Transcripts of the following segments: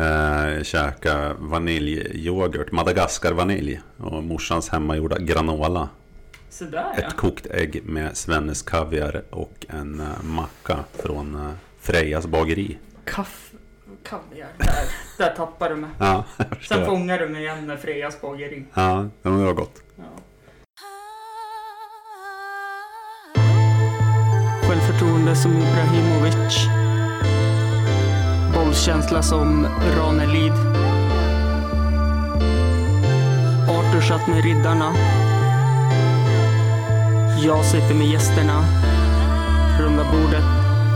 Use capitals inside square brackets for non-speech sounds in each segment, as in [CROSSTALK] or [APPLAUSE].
Eh, käka vaniljyoghurt, Madagaskar vanilj och morsans hemmagjorda granola. Så där ja. Ett kokt ägg med Svennes kaviar och en eh, macka från eh, Frejas bageri. Kaff... Kaviar. Där, där tappar du mig. Ja, [LAUGHS] jag Sen förstår. fångar du mig igen med Frejas bageri. Ja, det var gott. Ja. Självförtroende som Ibrahimovic. Bollkänsla som Ranelid. Arthur satt med riddarna. Jag sitter med gästerna. Runda bordet.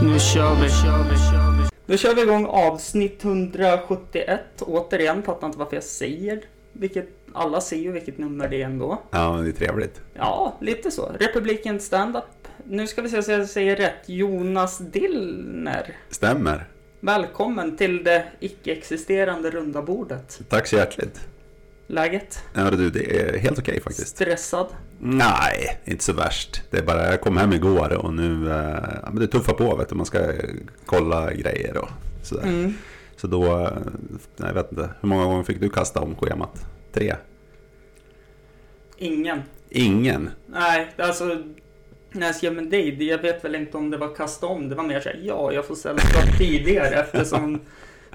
Nu kör vi. Kör vi, kör vi. Då kör vi igång avsnitt 171. Återigen, fattar inte varför jag säger vilket... Alla ser ju vilket nummer det är ändå. Ja, men det är trevligt. Ja, lite så. Republiken Standup. Nu ska vi se så jag säger rätt. Jonas Dillner. Stämmer. Välkommen till det icke-existerande runda bordet. Tack så hjärtligt. Läget? Ja, du, det är helt okej faktiskt. Stressad? Nej, inte så värst. Det är bara, jag kom hem igår och nu, eh, ja, men det tuffar på vet du. Man ska eh, kolla grejer och sådär. Mm. Så då, eh, nej, jag vet inte. Hur många gånger fick du kasta om schemat? Tre? Ingen. Ingen? Nej, alltså när jag skrev med dig, det- jag vet väl inte om det var kasta om. Det var mer såhär, ja, jag får sällskap tidigare eftersom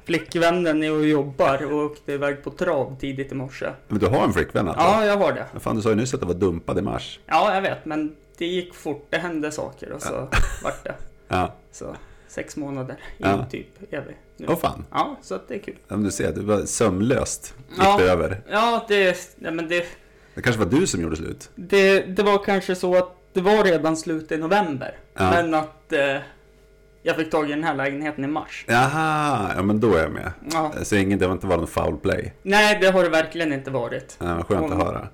flickvännen är och jobbar och åkte iväg på trav tidigt i morse. Men du har en flickvän alltså? Ja, jag har det. Men Fan, du sa ju nyss att det var dumpad i mars. Ja, jag vet, men det gick fort. Det hände saker och så vart det. Ja, Så sex månader in Ja. typ är vi nu. åh fan. Ja, så att det är kul. Ja, men Du ser, du var sömlöst. Gick Ja. det över. Ja, det, nej, men det, Det kanske var du som gjorde slut. det, det var kanske så att det var redan slut i november. Ja. Men att eh, jag fick tag i den här lägenheten i mars. Jaha, ja men då är jag med. Ja. Så ingen, det var inte bara någon foul play. Nej, det har det verkligen inte varit. Ja, vad skönt Om- att höra.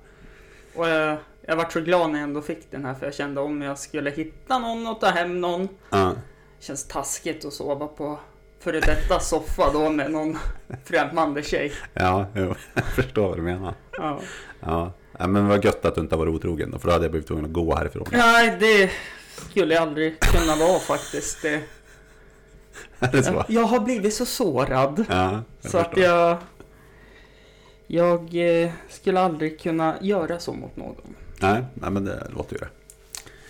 Och jag, jag var så glad när jag ändå fick den här för jag kände om jag skulle hitta någon och ta hem någon. Ja. Känns taskigt att sova på före detta soffa då med någon [LAUGHS] främmande tjej. Ja, jo, [LAUGHS] jag förstår vad du menar. Ja. Ja. ja, men vad gött att du inte har varit otrogen då, för då hade jag blivit tvungen att gå härifrån. [LAUGHS] Nej, det skulle jag aldrig kunna vara faktiskt. Det, Är det så? jag har blivit så sårad. Ja, jag Så att förstår. jag... Jag eh, skulle aldrig kunna göra så mot någon. Nej, nej, men det låter ju det.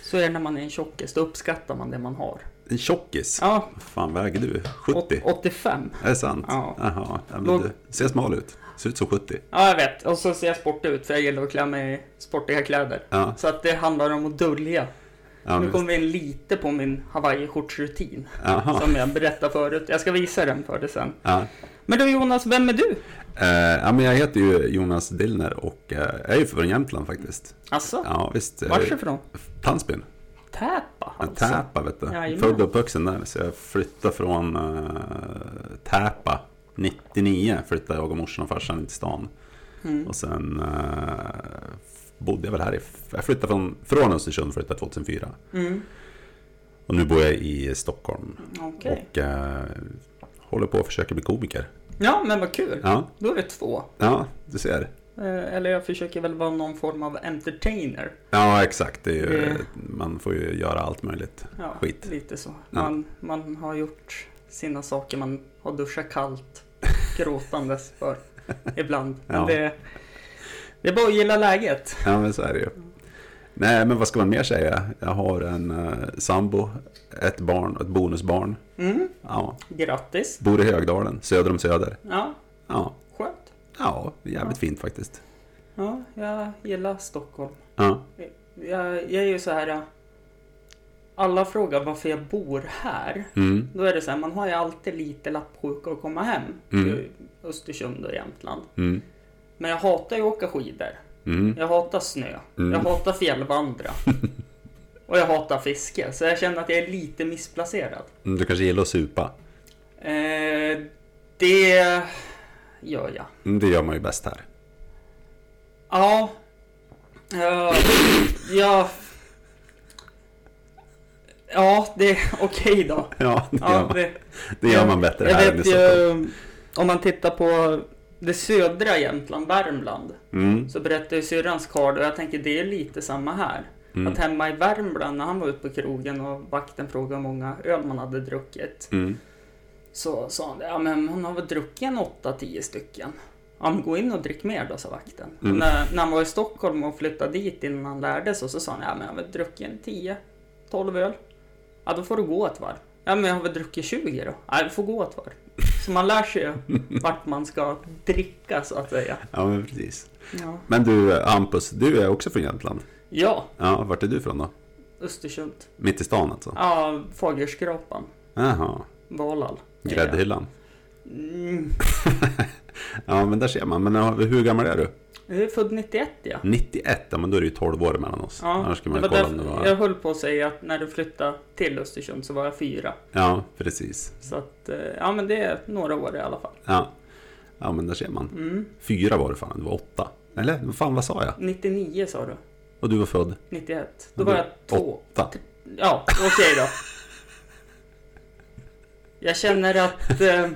Så är det när man är en tjockis, då uppskattar man det man har. En tjockis? Ja, Vad fan väger du? åt- 70? 85. Är det sant? Ja. Jaha, ja, men Låg- du ser smal ut. Ser ut som 70. Ja, jag vet. Och så ser jag sportig ut, för jag gillar att klä mig i sportiga kläder. Ja, Så att det handlar om att dölja. ja, nu men, kommer vi in lite på min hawaiiskjortsrutin, jaha. som jag berättade förut. Jag ska visa den för dig sen. Ja. Men du Jonas, vem är du? Eh, ja, men jag heter ju Jonas Dillner och eh, jag är ju från Jämtland faktiskt. Alltså, Ja, visst. eh, vars ifrån? Tandsbyn. Täpa Ja, alltså? Täpa vet du. Jajamän. Född och uppvuxen där. Så jag flyttade från eh, Täpa. 99 flyttade jag och morsan och farsan in till stan. Mm. Och sen eh, bodde jag väl här i... Jag flyttade från, från Östersund flyttade 2004. Mm. Och nu bor jag i Stockholm. Okej. Och eh, håller på att försöka bli komiker. Ja, men vad kul. Ja, Då är vi två. ja du ser. Eh, Eller jag försöker väl vara någon form av entertainer. Ja, exakt. Det är ju, Det- Man får ju göra allt möjligt. Ja, Skit. Lite så. Ja. Man, man har gjort sina saker, man har duschat [LAUGHS] kallt gråtandes för ibland. Men Ja. det, det är bara att gilla läget. Ja, men så är det ju. Nej, men vad ska man mer säga? Jag har en eh, sambo, ett barn och ett bonusbarn. Mm. Ja, Grattis! bor i Högdalen, söder om Söder. Ja, Ja, skönt. ja jävligt fint faktiskt. Ja, jag gillar Stockholm. Ja, Jag, jag är ju så här... eh, Alla frågar varför jag bor här. mm, Då är det så här, man har ju alltid lite lappsjuka att komma hem. Mm. Östersund och Jämtland. mm, Men jag hatar ju att åka skidor. mm. Jag hatar snö. Mm. Jag [LAUGHS] hatar fjällvandra. och jag hatar fiske. Så jag känner att jag är lite missplacerad. Mm, Du kanske gillar att supa? Eh, det gör jag. Mm, Det gör man ju bäst här. [LAUGHS] Ja. Eh, ja. Ja, det... Okej då. Ja, det, gör, Ja, man, det, det gör man bättre jag här än i vet Stockholm. ju, om man tittar på det södra Jämtland, Värmland. Mm, Så berättade ju syrrans karl och jag tänker det är lite samma här. Mm. Att hemma i Värmland när han var ute på krogen och vakten frågade hur många öl man hade druckit. mm, Så sa han det, ja men hon har väl druckit en 8-10 stycken. Ja men gå in och drick mer då, sa vakten. Mm. När, när han var i Stockholm och flyttade dit innan han lärde sig så sa han, ja men jag har väl druckit en 10-12 öl. Ja då får du gå ett varv. Ja men jag har väl druckit 20 då? Ja du får gå ett varv. Så man lär sig ju vart man ska dricka så att säga. Ja, men precis. Ja, Men du Hampus, du är också från Jämtland. ja Ja, vart är du från då? Östersund. Mitt i stan alltså? Ja, Fagerskrapan. Jaha, Valhall. gräddhyllan. Mm, Ja, men där ser man. Men ja, hur gammal är du? jag är född 91 ja. 91, ja men då är det ju 12 år mellan oss. Ja, Annars skulle det man var kolla därför om det var... Jag höll på att säga att när du flyttade till Östersund så var jag fyra. Ja, precis. Så att, eh, ja men det är några år i alla fall. Ja. ja, men där ser man. Mm. Fyra var det fan, det var åtta. Eller? vad Fan, vad sa jag? 99 sa du. Och du var född? 91. Då var jag två. Åtta. Ja, okej då. Jag känner att, eh,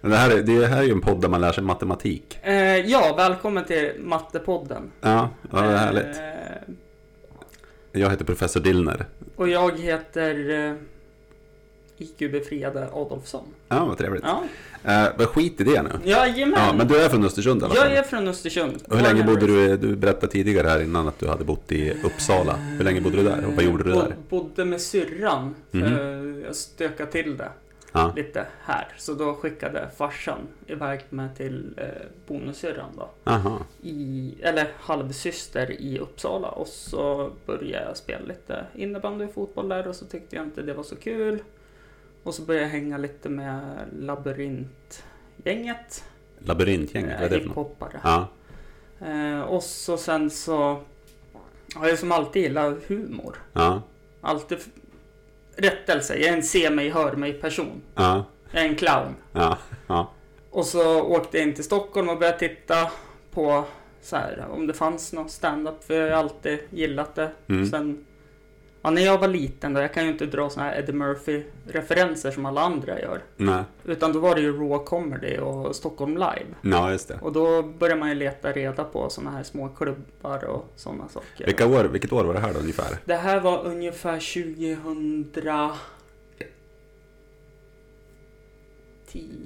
Men Det här, är, det här är ju en podd där man lär sig matematik. eh, ja välkommen till Mattepodden. Ja, vad härligt. Eh, Jag heter Professor Dillner. och jag heter eh, IQ-befriade Adolfsson. Ja, vad trevligt. Ja, Eh, men skit i det nu. Jajamän! Ja, men du är från Östersund i alla fall. Jag är från Östersund. Och Hur länge bodde du, du berättade tidigare här innan att du hade bott i Uppsala. Hur länge bodde du där och vad gjorde du Bo- där? Bodde med syrran. Mhm. Eh, Jag stökade till det Ja, lite här. Så då skickade farsan iväg mig till eh, bonussyrran då. aha. I, eller halvsyster i Uppsala. Och så började jag spela lite innebandy och fotboll där och så tyckte jag inte det var så kul. Och så började jag hänga lite med labyrintgänget. Labyrintgänget, vad är det för något? Hiphoppare. Ja, Eh, och så sen så har jag som alltid gillat humor. ja, Alltid f- rättelse. Jag är en se mig, hör mig person. ja, Jag är en clown. ja, ja, Och så åkte jag in till Stockholm och började titta på så här, om det fanns någon stand-up. För jag har ju alltid gillat det. Mm. Sen, ja, när jag var liten då, jag kan ju inte dra såna här Eddie Murphy-referenser som alla andra gör. nej, Utan då var det ju raw comedy och Stockholm live. ja, just det. Och då börjar man ju leta reda på såna här små klubbar och sådana saker. Vilka år, vilket år var det här då ungefär? Det här var ungefär 2010,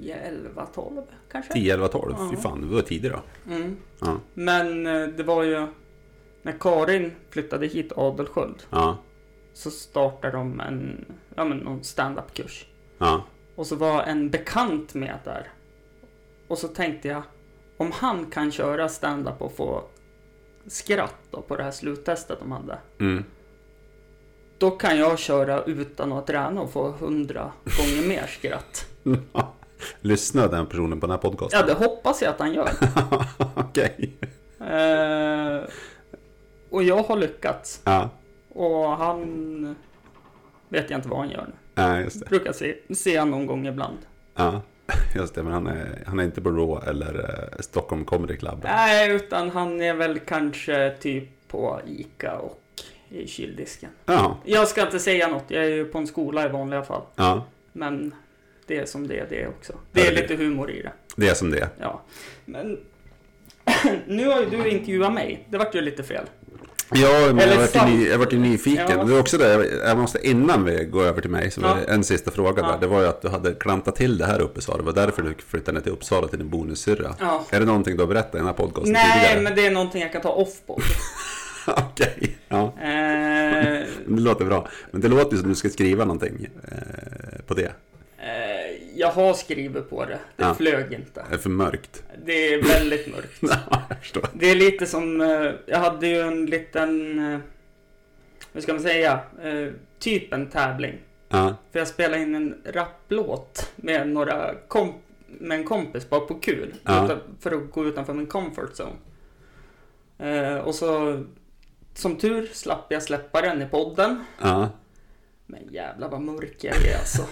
11, 12 kanske? 10, 11, 12? Fy Ja. fan, du var tidig då. Mm. Ja. Men eh, det var ju när Karin flyttade hit Adelsköld Ja, så startade de en ja, men någon stand-up-kurs. ja, Och så var en bekant med där. Och så tänkte jag, om han kan köra stand-up och få skratt då på det här sluttestet de hade. mm, [LAUGHS] Då kan jag köra utan att träna och få hundra gånger mer skratt. Lyssnar den personen på den här podcasten? Ja, det hoppas jag att han gör. [LAUGHS] Okej. Eh, och jag har lyckats. Ja, Och han vet jag inte vad han gör nu. ja, just det. Brukar se, se han någon gång ibland. Ja, just det. Men han är, han är inte på Raw eller eh, Stockholm Comedy Club. Nej, utan han är väl kanske typ på Ica och i kyldisken. Ja, Jag ska inte säga något. Jag är ju på en skola i vanliga fall. ja, Men det är som det är det också. Det är Herregud. lite humor i det. det är som det är. Ja, men [CLEARS THROAT] nu har ju du intervjuat mig. Det vart ju lite fel. Ja, men jag Eller har varit, sant. ny, jag har varit nyfiken. Ja. Det är också det, jag- jag måste, innan vi går över till mig, så var Ja. det en sista fråga Ja. där. Det var ju att du hade klantat till det här uppe sa du. Det var därför du flyttade ner till Uppsala till din bonussyrra. Ja. Är det någonting du har berättat i den här podcasten Nej, tidigare? men det är någonting jag kan ta off på. [LAUGHS] Okej, ja. eh, Det låter bra. Men det låter ju som du ska skriva någonting eh, på det. eh, jag har skrivit på det. Det Ja. flög inte. Det är för mörkt. [LAUGHS] Det är väldigt mörkt. Ja, jag förstår. Det är lite som, eh, jag hade ju en liten, eh, hur ska man säga, eh, typ en tävling. Ja, För jag spelade in en rapplåt med några komp- med en kompis bara på kul. Ja. Utan- För att gå utanför min comfort zone. Eh, och så som tur slapp jag släppa den i podden. ja, Men jävlar vad mörk jag är [LAUGHS] alltså.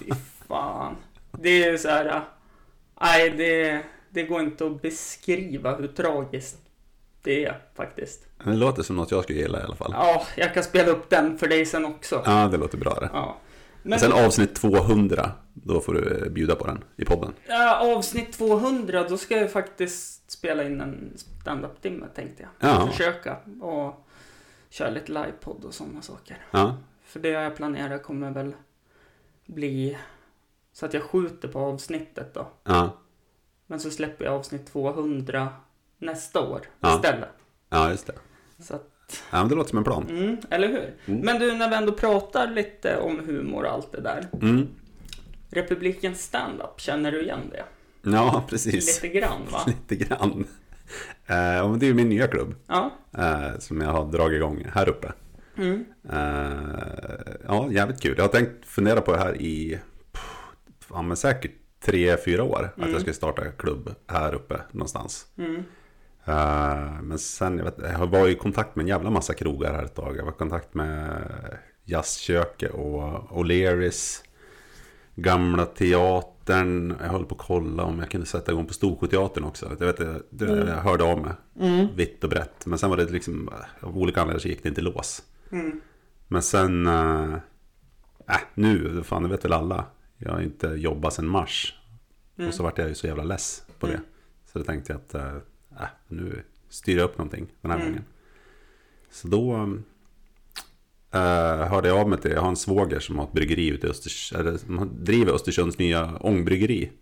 Fy fan. Det är ju så här. eh, Nej, det, det går inte att beskriva hur tragiskt det är faktiskt. det låter som något jag skulle gilla i alla fall. Ja, jag kan spela upp den för dig sen också. Ja, det låter bra det. Ja. Men- Sen avsnitt 200, då får du eh, bjuda på den i podden. Ja, avsnitt 200, då ska jag faktiskt spela in en standup-timme tänkte jag. Ja. Försöka och köra lite livepodd och sådana saker. Ja, För det jag planerar kommer väl bli Så att jag skjuter på avsnittet då. Ja, Men så släpper jag avsnitt 200 nästa år Ja. istället. ja just det. Så att, Ja, men det låter som en plan. mm, eller hur? Mm. Men du, när vi ändå pratar lite om humor och allt det där. Mm. Republiken stand-up, känner du igen det? Ja, precis. Lite grann [LAUGHS] va? Lite grann. Eh, och det är ju min nya klubb Ja. eh, som jag har dragit igång här uppe. Mm. Eh, ja, jävligt kul. Jag har tänkt fundera på det här i pff, ja, men säkert tre, fyra år. Att jag ska starta klubb här uppe någonstans. Mm. Eh, men sen, jag, vet, jag var i kontakt med en jävla massa krogar här ett tag. Jag var i kontakt med Jazzköket och O'Learys. Gamla teatern. Jag höll på att kolla om jag kunde sätta igång på Storsjöteatern också. Jag, vet, jag, du- jag hörde av mig vitt och brett. Men sen var det liksom, eh, av olika anledningar så gick det inte lås. Mm. Men sen, eh, äh, nu, fan det vet väl alla. Jag har inte jobbat sedan mars. Och så vart jag ju så jävla less på det. Så då tänkte jag att, eh, äh, nu styr jag upp någonting den här gången. Så då eh, hörde jag av mig till, jag har en svåger som har ett bryggeri ute i Östers, eller som har- driver Östersunds nya ångbryggeri.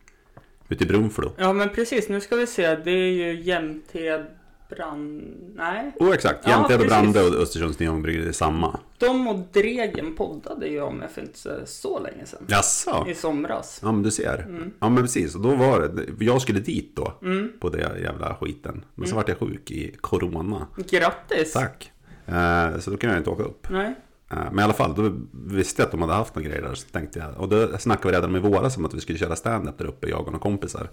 Ute i Brunflo. Ja men precis, nu ska vi se. Det är ju Jämthed Brand... Nej. Oh, exakt, Ja, Jämthed och precis. Brande och Östersunds nya ångbryggeri, det är samma. De och Dregen poddade ju om jag för inte så- så länge sedan. Jaså? I somras. Ja men du ser. Ja men precis, och då var det, jag skulle dit då på den jävla skiten. Men så vart jag sjuk i corona. Grattis! Tack. Eh, så då kunde jag inte åka upp. Nej. Eh, men i alla fall, då visste jag att de hade haft några grejer där. Så tänkte jag, och då snackade vi redan i våras om att vi skulle köra stand-up där uppe, jag och några kompisar.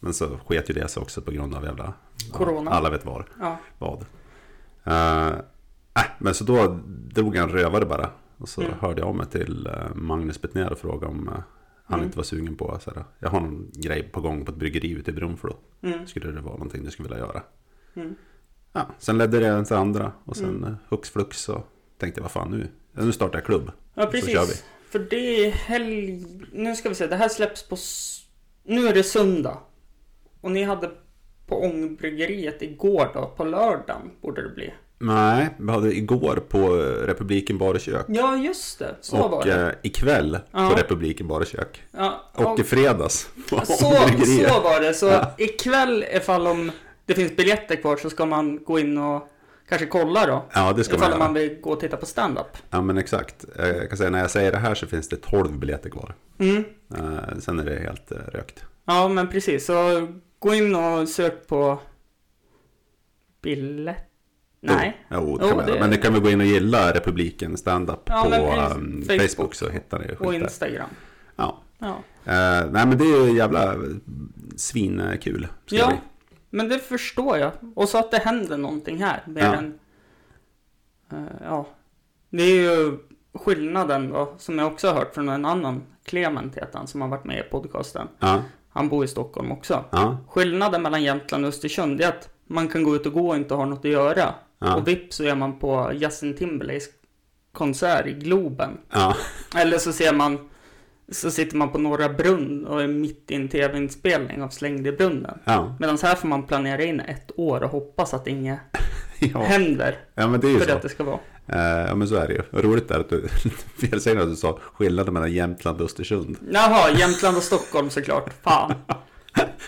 Men så sket ju det sig också på grund av jävla... ja, Corona. alla vet var. Ja. Vad. Eh, äh, men så då drog jag en rövare bara. Och så Mm. hörde jag av mig till eh, Magnus Betnér och frågade om eh, han Mm. inte var sugen på så här, Jag har någon grej på gång på ett bryggeri ute i Brunflo. Mm. Skulle det vara någonting du skulle vilja göra? Ja, sen ledde det till andra och sen mm. hux flux så tänkte jag vad fan nu? Ja, Nu startar jag klubb. Ja Så kör vi. precis. För det är helg... Nu ska vi se, det här släpps på... s- Nu är det söndag. Och ni hade på Ångbryggeriet igår då, på lördagen borde det bli. Nej, vi hade igår på eh, Republiken Bar och Kök. Ja just det, så var Och det. eh, ikväll Ja. på Republiken Bar och Kök. Ja, Och i fredags på Så, så [LAUGHS] Bryggeriet. var det. Så Ja. ikväll ifall om det finns biljetter kvar så ska man gå in och kanske kolla då. Ja, det ska man ifall göra. man vill gå och titta på stand-up. Ja men exakt. Eh, Jag kan säga när jag säger det här så finns det 12 biljetter kvar. Mm. Eh, Sen är det helt eh, rökt. Ja men precis, så gå in och sök på biljett. Nej. Jo, jo, det kan Jo, man göra. det- Men det kan vi gå in och gilla Republiken standup Ja, på men precis. ehm, Facebook. Facebook. så hittar ni Och skit där. Instagram. Ja. Ja. Eh, nej men det är ju jävla svinkul. Ska det ja, bli. men det förstår jag. Och så att det händer någonting här. Mer Ja. än, eh, ja. Det är ju skillnaden då, som jag också har hört från en annan, Clement heter han, som har varit med i podcasten. Ja, Han bor i Stockholm också. ja, Skillnaden mellan Jämtland och Östersund är att man kan gå ut och gå och inte ha något att göra. Ja. Och vips så är man på Justin Timberlakes konsert i Globen. ja, Eller så ser man så sitter man på Norra Brunn och är mitt i en tv-inspelning av Slängd i brunnen. ja. [LAUGHS] Medan här får man planera in ett år och hoppas att inget ja. händer Ja men det är ju för så. att det ska vara. Eh, ja men så är det ju. Och Roligt är att du, [LAUGHS] fel säger att du sa skillnaden mellan Jämtland och Östersund. Jaha, Jämtland och Stockholm såklart. Fan. [LAUGHS]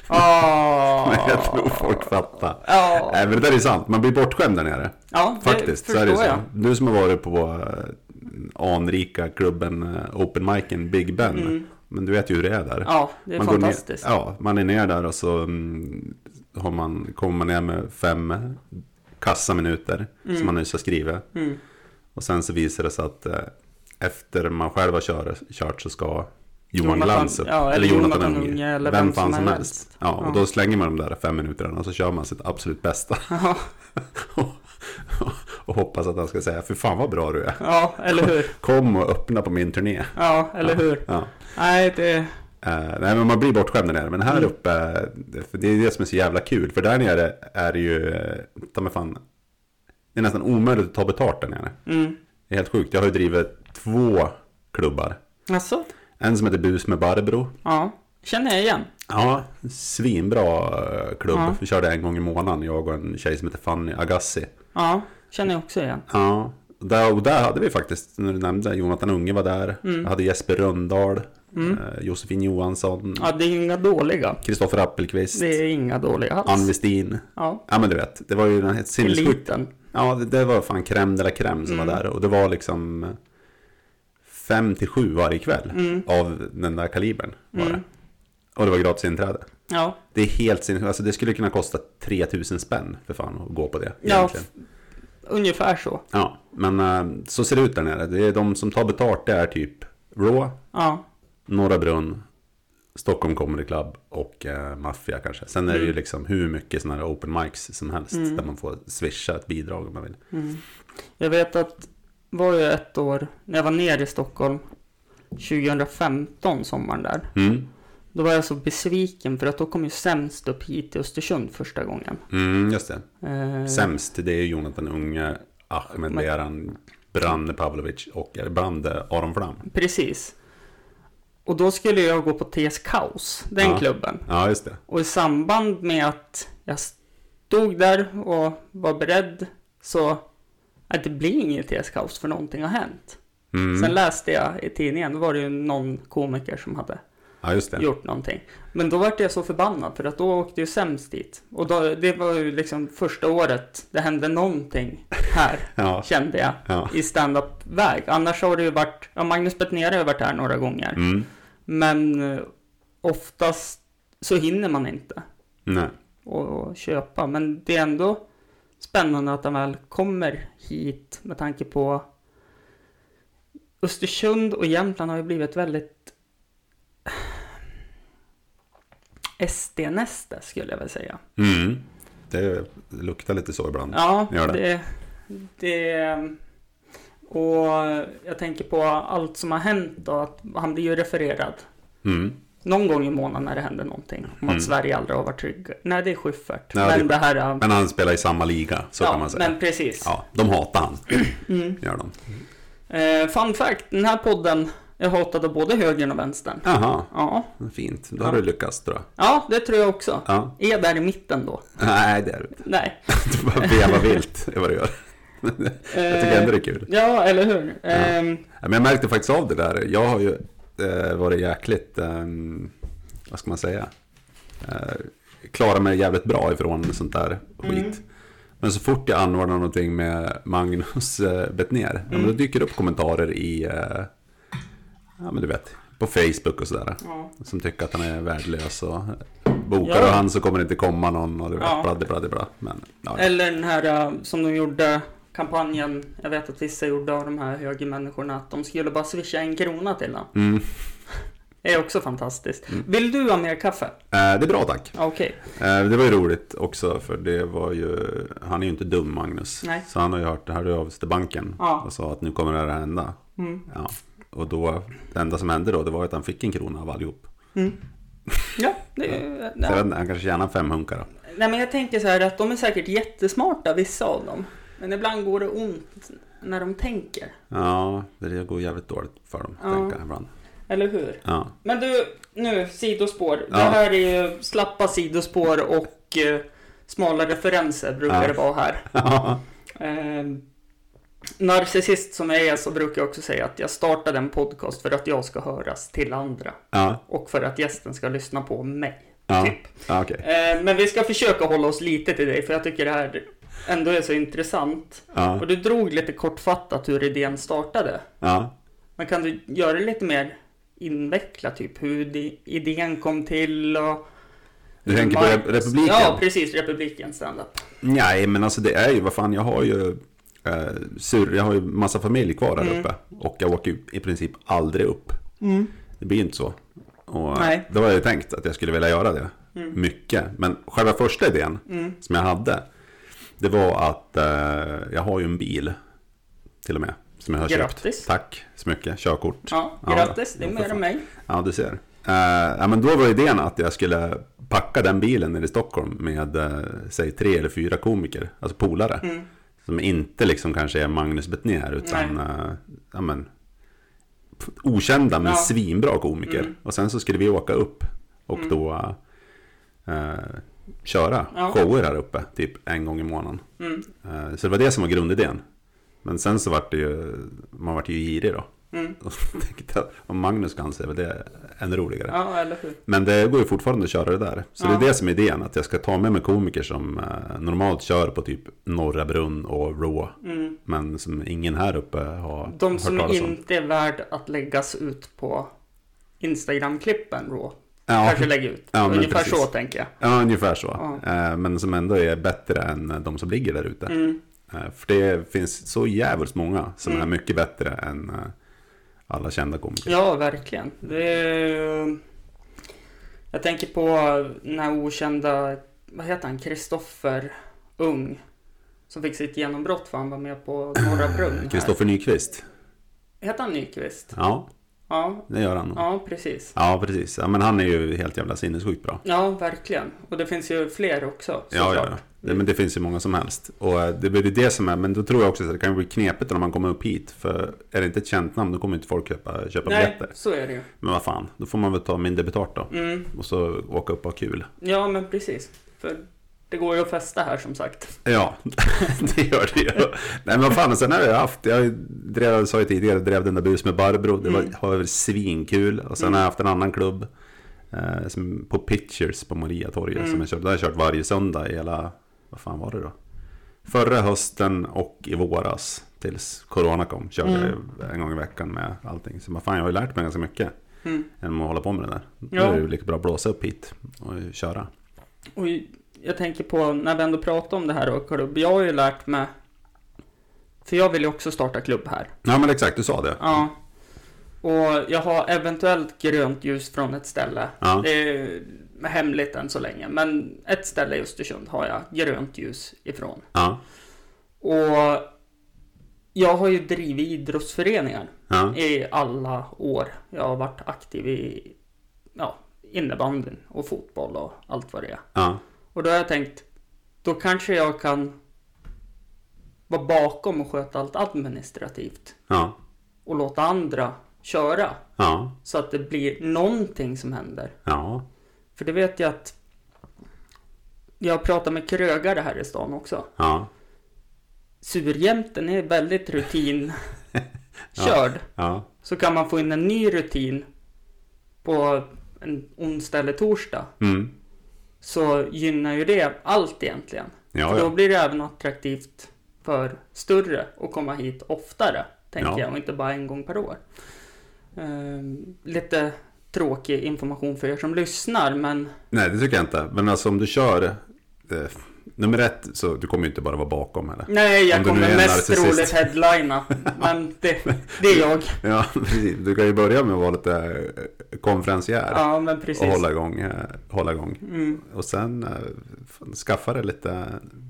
Oh. Men [LAUGHS] jag tror folk fattar. Ja. Nej men det där är sant, man blir bortskämd där nere. Ja, det Faktiskt, så är förstår det ju så. jag. Du som har varit på eh, anrika klubben eh, Open Micen Big Ben. Men du vet ju hur det är där. Mm. Ja, det är Man går fantastiskt. Ner, ja, man är ner där och så mm, har man, kommer man ner med fem kassaminuter som man nyss har skrivit. Mm. Och sen så visar det sig att eh, efter man själv har kör, kört så ska Johan Jonathan- Glans upp. ja, eller Jonathan Unge, eller vem vem fan som som helst. helst. Ja, och Ja. då slänger man de där fem minuterna och så kör man sitt absolut [LAUGHS] bästa. Ja, och, och, [LAUGHS] och hoppas att han ska säga, för fan vad bra du är. ja, eller hur? Kom och öppna på min turné. Ja, eller hur? Ja. Nej, det... Eh, nej, men man blir bortskämd där nere. Men Mm. här uppe, för det är det som är så jävla kul. För där nere är det ju, eh, ta mig fan, det är nästan omöjligt att ta betalt där nere. Mm. Det är helt sjukt. Jag har ju drivit två klubbar. Alltså? En som heter Bus med Barbro. Ja, känner jag igen. Ja, svinbra eh, klubb. Ja. Vi körde en gång i månaden, jag och en tjej som heter Fanny Agassi. Ja, känner jag också igen. Ja, och där, och där hade vi faktiskt, när du nämnde, Jonathan Unge var där. Jag hade Jesper Röndahl. Mm. eh, Josefin Johansson, Ja, det är inga dåliga. Kristoffer Appelqvist, Det är inga dåliga Ann alls. Westin. Ja, Ja men du vet, det var ju den här sinnessjukt eliten. Ja, det, det var fan crème de la crème som Mm. var där. Och det var liksom fem till sju varje kväll Mm. av den där kalibern. Var det. Mm. Och det var gratis inträde. Ja, Det är helt sinnessjukt. Alltså det skulle kunna kosta 3000 spänn för fan att gå på det. Ja. Egentligen. Ja. ungefär så. ja, men eh, så ser det ut där nere. Det är de som tar betalt, det är typ Raw, Ja, Norra Brunn, Stockholm Comedy Club och eh, Mafia kanske. Sen är det ju Mm. liksom hur mycket sådana här open mics som helst. Mm. Där man får swisha ett bidrag om man vill. Mm. Jag vet att var ju ett år när jag var nere i Stockholm 2015 sommaren där. Mm. Då var jag så besviken för att då kom ju sämst upp hit till Östersund första gången. Mm, just det. Eh, Sämst, det är ju Jonathan Unge, Ahmed Men- Beran, Brande Pavlovic och eller Brande Aron Flam. Precis. Och då skulle jag gå på TS Kaos, den Ja. klubben. Ja, just det. Och i samband med att jag stod där och var beredd så att det blir inget TS Kaos för någonting har hänt. Mm. Sen läste jag i tidningen, då var det ju någon komiker som hade Ja, just det. gjort någonting. Men då vart jag så förbannad för att då åkte ju sämst dit. Och då, det var ju liksom första året det hände någonting här, Ja. kände jag, Ja. i stand-up-väg. Annars har det ju varit, ja Magnus Bettner har ju varit här några gånger. Mm. Men eh, oftast så hinner man inte Nej. och, och köpa. Men det är ändå spännande att han väl kommer hit med tanke på Östersund och Jämtland har ju blivit väldigt SD-näste skulle jag väl säga. Mm. Det luktar lite så ibland. Ja, Gör det. det... Och jag tänker på allt som har hänt och att han blir ju refererad Mm. Någon gång i månaden när det händer någonting. Om att Mm. Sverige aldrig har varit trygga. Nej, det är Schyffert. Ja, det är men det här... är- Men han spelar i samma liga, så ja, kan man säga. men precis. Ja, de hatar han, Mm. gör de. Eh, fun fact, den här podden är hatad av både högern och vänstern. Jaha, Ja, fint. Då har du lyckats tror jag. ja det tror jag också. Ja. Är där i mitten då? Nej, det är du inte. [LAUGHS] Nej. Du bara vevar vilt, det är vad du gör. Eh, Jag tycker ändå det är kul. Ja, eller hur? Ehm, Ja, men jag märkte faktiskt av det där. Jag har ju eh, varit jäkligt, eh, vad ska man säga, eh, klarat mig jävligt bra ifrån sånt där Mm. skit. Men så fort jag anordnar någonting med Magnus eh, Bettner, ja, Mm. men då dyker det upp kommentarer i, eh, ja men du vet, på Facebook och sådär. ja. Som tycker att han är värdelös och bokar Ja. och han så kommer det inte komma någon och du vet, Ja. ja. bladde, bladde, bladde. Men, ja, ja. Eller den här eh, som de gjorde, kampanjen. Jag vet att vissa gjorde av de här högermänniskorna. Att de skulle bara swisha en krona till den. Mm. Det är också fantastiskt. Vill du ha mer kaffe? Eh, det är bra tack. Ja, Okej. Eh, Det var ju roligt också för det var ju, han är ju inte dum Magnus. Nej. Så han har ju hört det här av sig till banken Ja. och sa att nu kommer det här att hända. Mm. Ja. Och då, det enda som hände då det var att han fick en krona av allihop. Mm. Ja, det, Så jag vet ja. inte, han kanske tjänar fem hunkar. Nej, men jag tänker så här att de är säkert jättesmarta, vissa av dem. Men ibland går det ont när de tänker. Ja, det går jävligt dåligt för dem. Ja. Tänker jag ibland. Eller hur? Ja. [LAUGHS] Men du, nu sidospår. Det Ja. här är ju slappa sidospår och eh, smala referenser brukar Ja. det vara här. Eh, narcissist som jag är så brukar jag också säga att jag startade en podcast för att jag ska höras till andra. ja. Och för att gästen ska lyssna på mig. Ja. Typ. Ja, okej. Eh, men vi ska försöka hålla oss lite till dig för jag tycker det här ändå är så intressant. Ja. Och du drog lite kortfattat hur idén startade. Ja. Men kan du göra det lite mer invecklat, typ hur di- idén kom till och... Du tänker på Mar- Re- Republiken? Ja, precis. Republiken standup. Nej, men alltså det är ju, vad fan, jag har ju eh, sur, jag har ju massa familj kvar här uppe. Och jag åker ju i princip aldrig upp. Det blir ju inte så. Och eh, Nej. Då har jag ju tänkt att jag skulle vilja göra det. Mycket. Men själva första idén Mm. som jag hade. Det var att eh, jag har ju en bil. Till och med. Som jag har Grattis. köpt. Tack så mycket. Körkort. Ja, Ja, grattis. det är ja, mer för än mig. Ja, du ser. Eh, ja, men då var idén att jag skulle packa den bilen nere i Stockholm med, eh, säg tre eller fyra komiker, alltså polare. Mm. Som inte liksom kanske är Magnus Bettner utan, eh, ja men, p- okända men Ja. Mm. svinbra komiker. Och sen så skulle vi åka upp och då eh, köra Ja. shower här uppe, typ en gång i månaden. Mm. Eh, så det var det som var grundidén. Men sen så vart det ju, man vart ju girig då. Mm. Och tänkte jag, om Magnus kan se det är ännu roligare. Ja, eller hur? Men det går ju fortfarande att köra det där. Så det Ja. är det som är idén, att jag ska ta med mig komiker som eh, normalt kör på typ Norra Brunn och Raw. Mm. Men som ingen här uppe har De hört som talas om. inte är värd att läggas ut på Instagram-klippen då. Ja, Kanske lägga ut. Ja, men Ungefär precis. så tänker jag. ja, ungefär så. Ja. Eh, Men som ändå är bättre än eh, de som ligger där ute. Mm. Eh, För det finns så jävligt många som Mm. är mycket bättre än eh, alla kända komiker. Ja, verkligen. Det är... Jag tänker på den här okända, vad heter han, Kristoffer Ung. Som fick sitt genombrott för han var med på Norra Brunn. här. Kristoffer Nyqvist. Heter han Nyqvist? Ja, Ja, det gör han. Ja, ja precis. precis. Ja, men han är ju helt jävla sinnessjukt bra. Ja, verkligen. Och det finns ju fler också. Ja, ja, såklart. ja. Det, men det finns ju många som helst. Och eh, det är väl det som är, men då tror jag också att det kan bli knepigt när man kommer upp hit. För är det inte ett känt namn då kommer inte folk köpa, köpa Nej, biljetter. så är det ju. Men vad fan, då får man väl ta mindre betalt då. Mm. Och så åka upp och ha kul. Ja, men precis. För det går ju att festa här som sagt. Ja, [LAUGHS] det gör det ju. Nej men vad fan, sen har jag haft, jag drev, sa ju tidigare, drev den där bus med Barbro. Det var, Mm. har varit svinkul. Och sen har jag haft en annan klubb. Eh, som på Pictures på Mariatorget. Mm. Som jag kört, där har jag kört varje söndag i hela, vad fan var det då? Förra hösten och i våras. Tills Corona kom. Körde Mm. jag en gång i veckan med allting. Så vad fan, jag har ju lärt mig ganska mycket. Mm. Genom att hålla på med det där. Då Ja. är det ju lika bra att blåsa upp hit och köra. Och jag tänker på, när vi ändå pratar om det här och klubb, jag har ju lärt mig, för jag vill ju också starta klubb här. Ja men exakt, du sa det. Ja. Och jag har eventuellt grönt ljus från ett ställe. Ja. Det är hemligt än så länge, men ett ställe i Östersund har jag grönt ljus ifrån. Ja. Och jag har ju drivit idrottsföreningar ja. i alla år. Jag har varit aktiv i ja, innebandyn och fotboll och allt vad det är. ja. Och då har jag tänkt, då kanske jag kan vara bakom och sköta allt administrativt Ja, och låta andra köra ja, så att det blir någonting som händer. ja, För det vet jag att jag pratar med krögare här i stan också. ja, Surjämten är väldigt [LAUGHS] rutinkörd. ja, Så kan man få in en ny rutin på en onsdag eller torsdag mm, så gynnar ju det allt egentligen. ja, För då ja, blir det även attraktivt för större att komma hit oftare, tänker Ja. jag, och inte bara en gång per år. Ehm, lite tråkig information för er som lyssnar, men nej det tycker jag inte, men alltså om du kör, eh, nummer ett så du kommer ju inte bara vara bakom eller? nej, Om jag du nu kommer är en mest narcissist. troligt headlina. Men det, det är [LAUGHS] jag. Ja, precis, du kan ju börja med att vara lite eh, konferencier Ja, men och precis. hålla igång, eh, hålla igång. Mm. Och sen eh, fan, skaffa dig lite,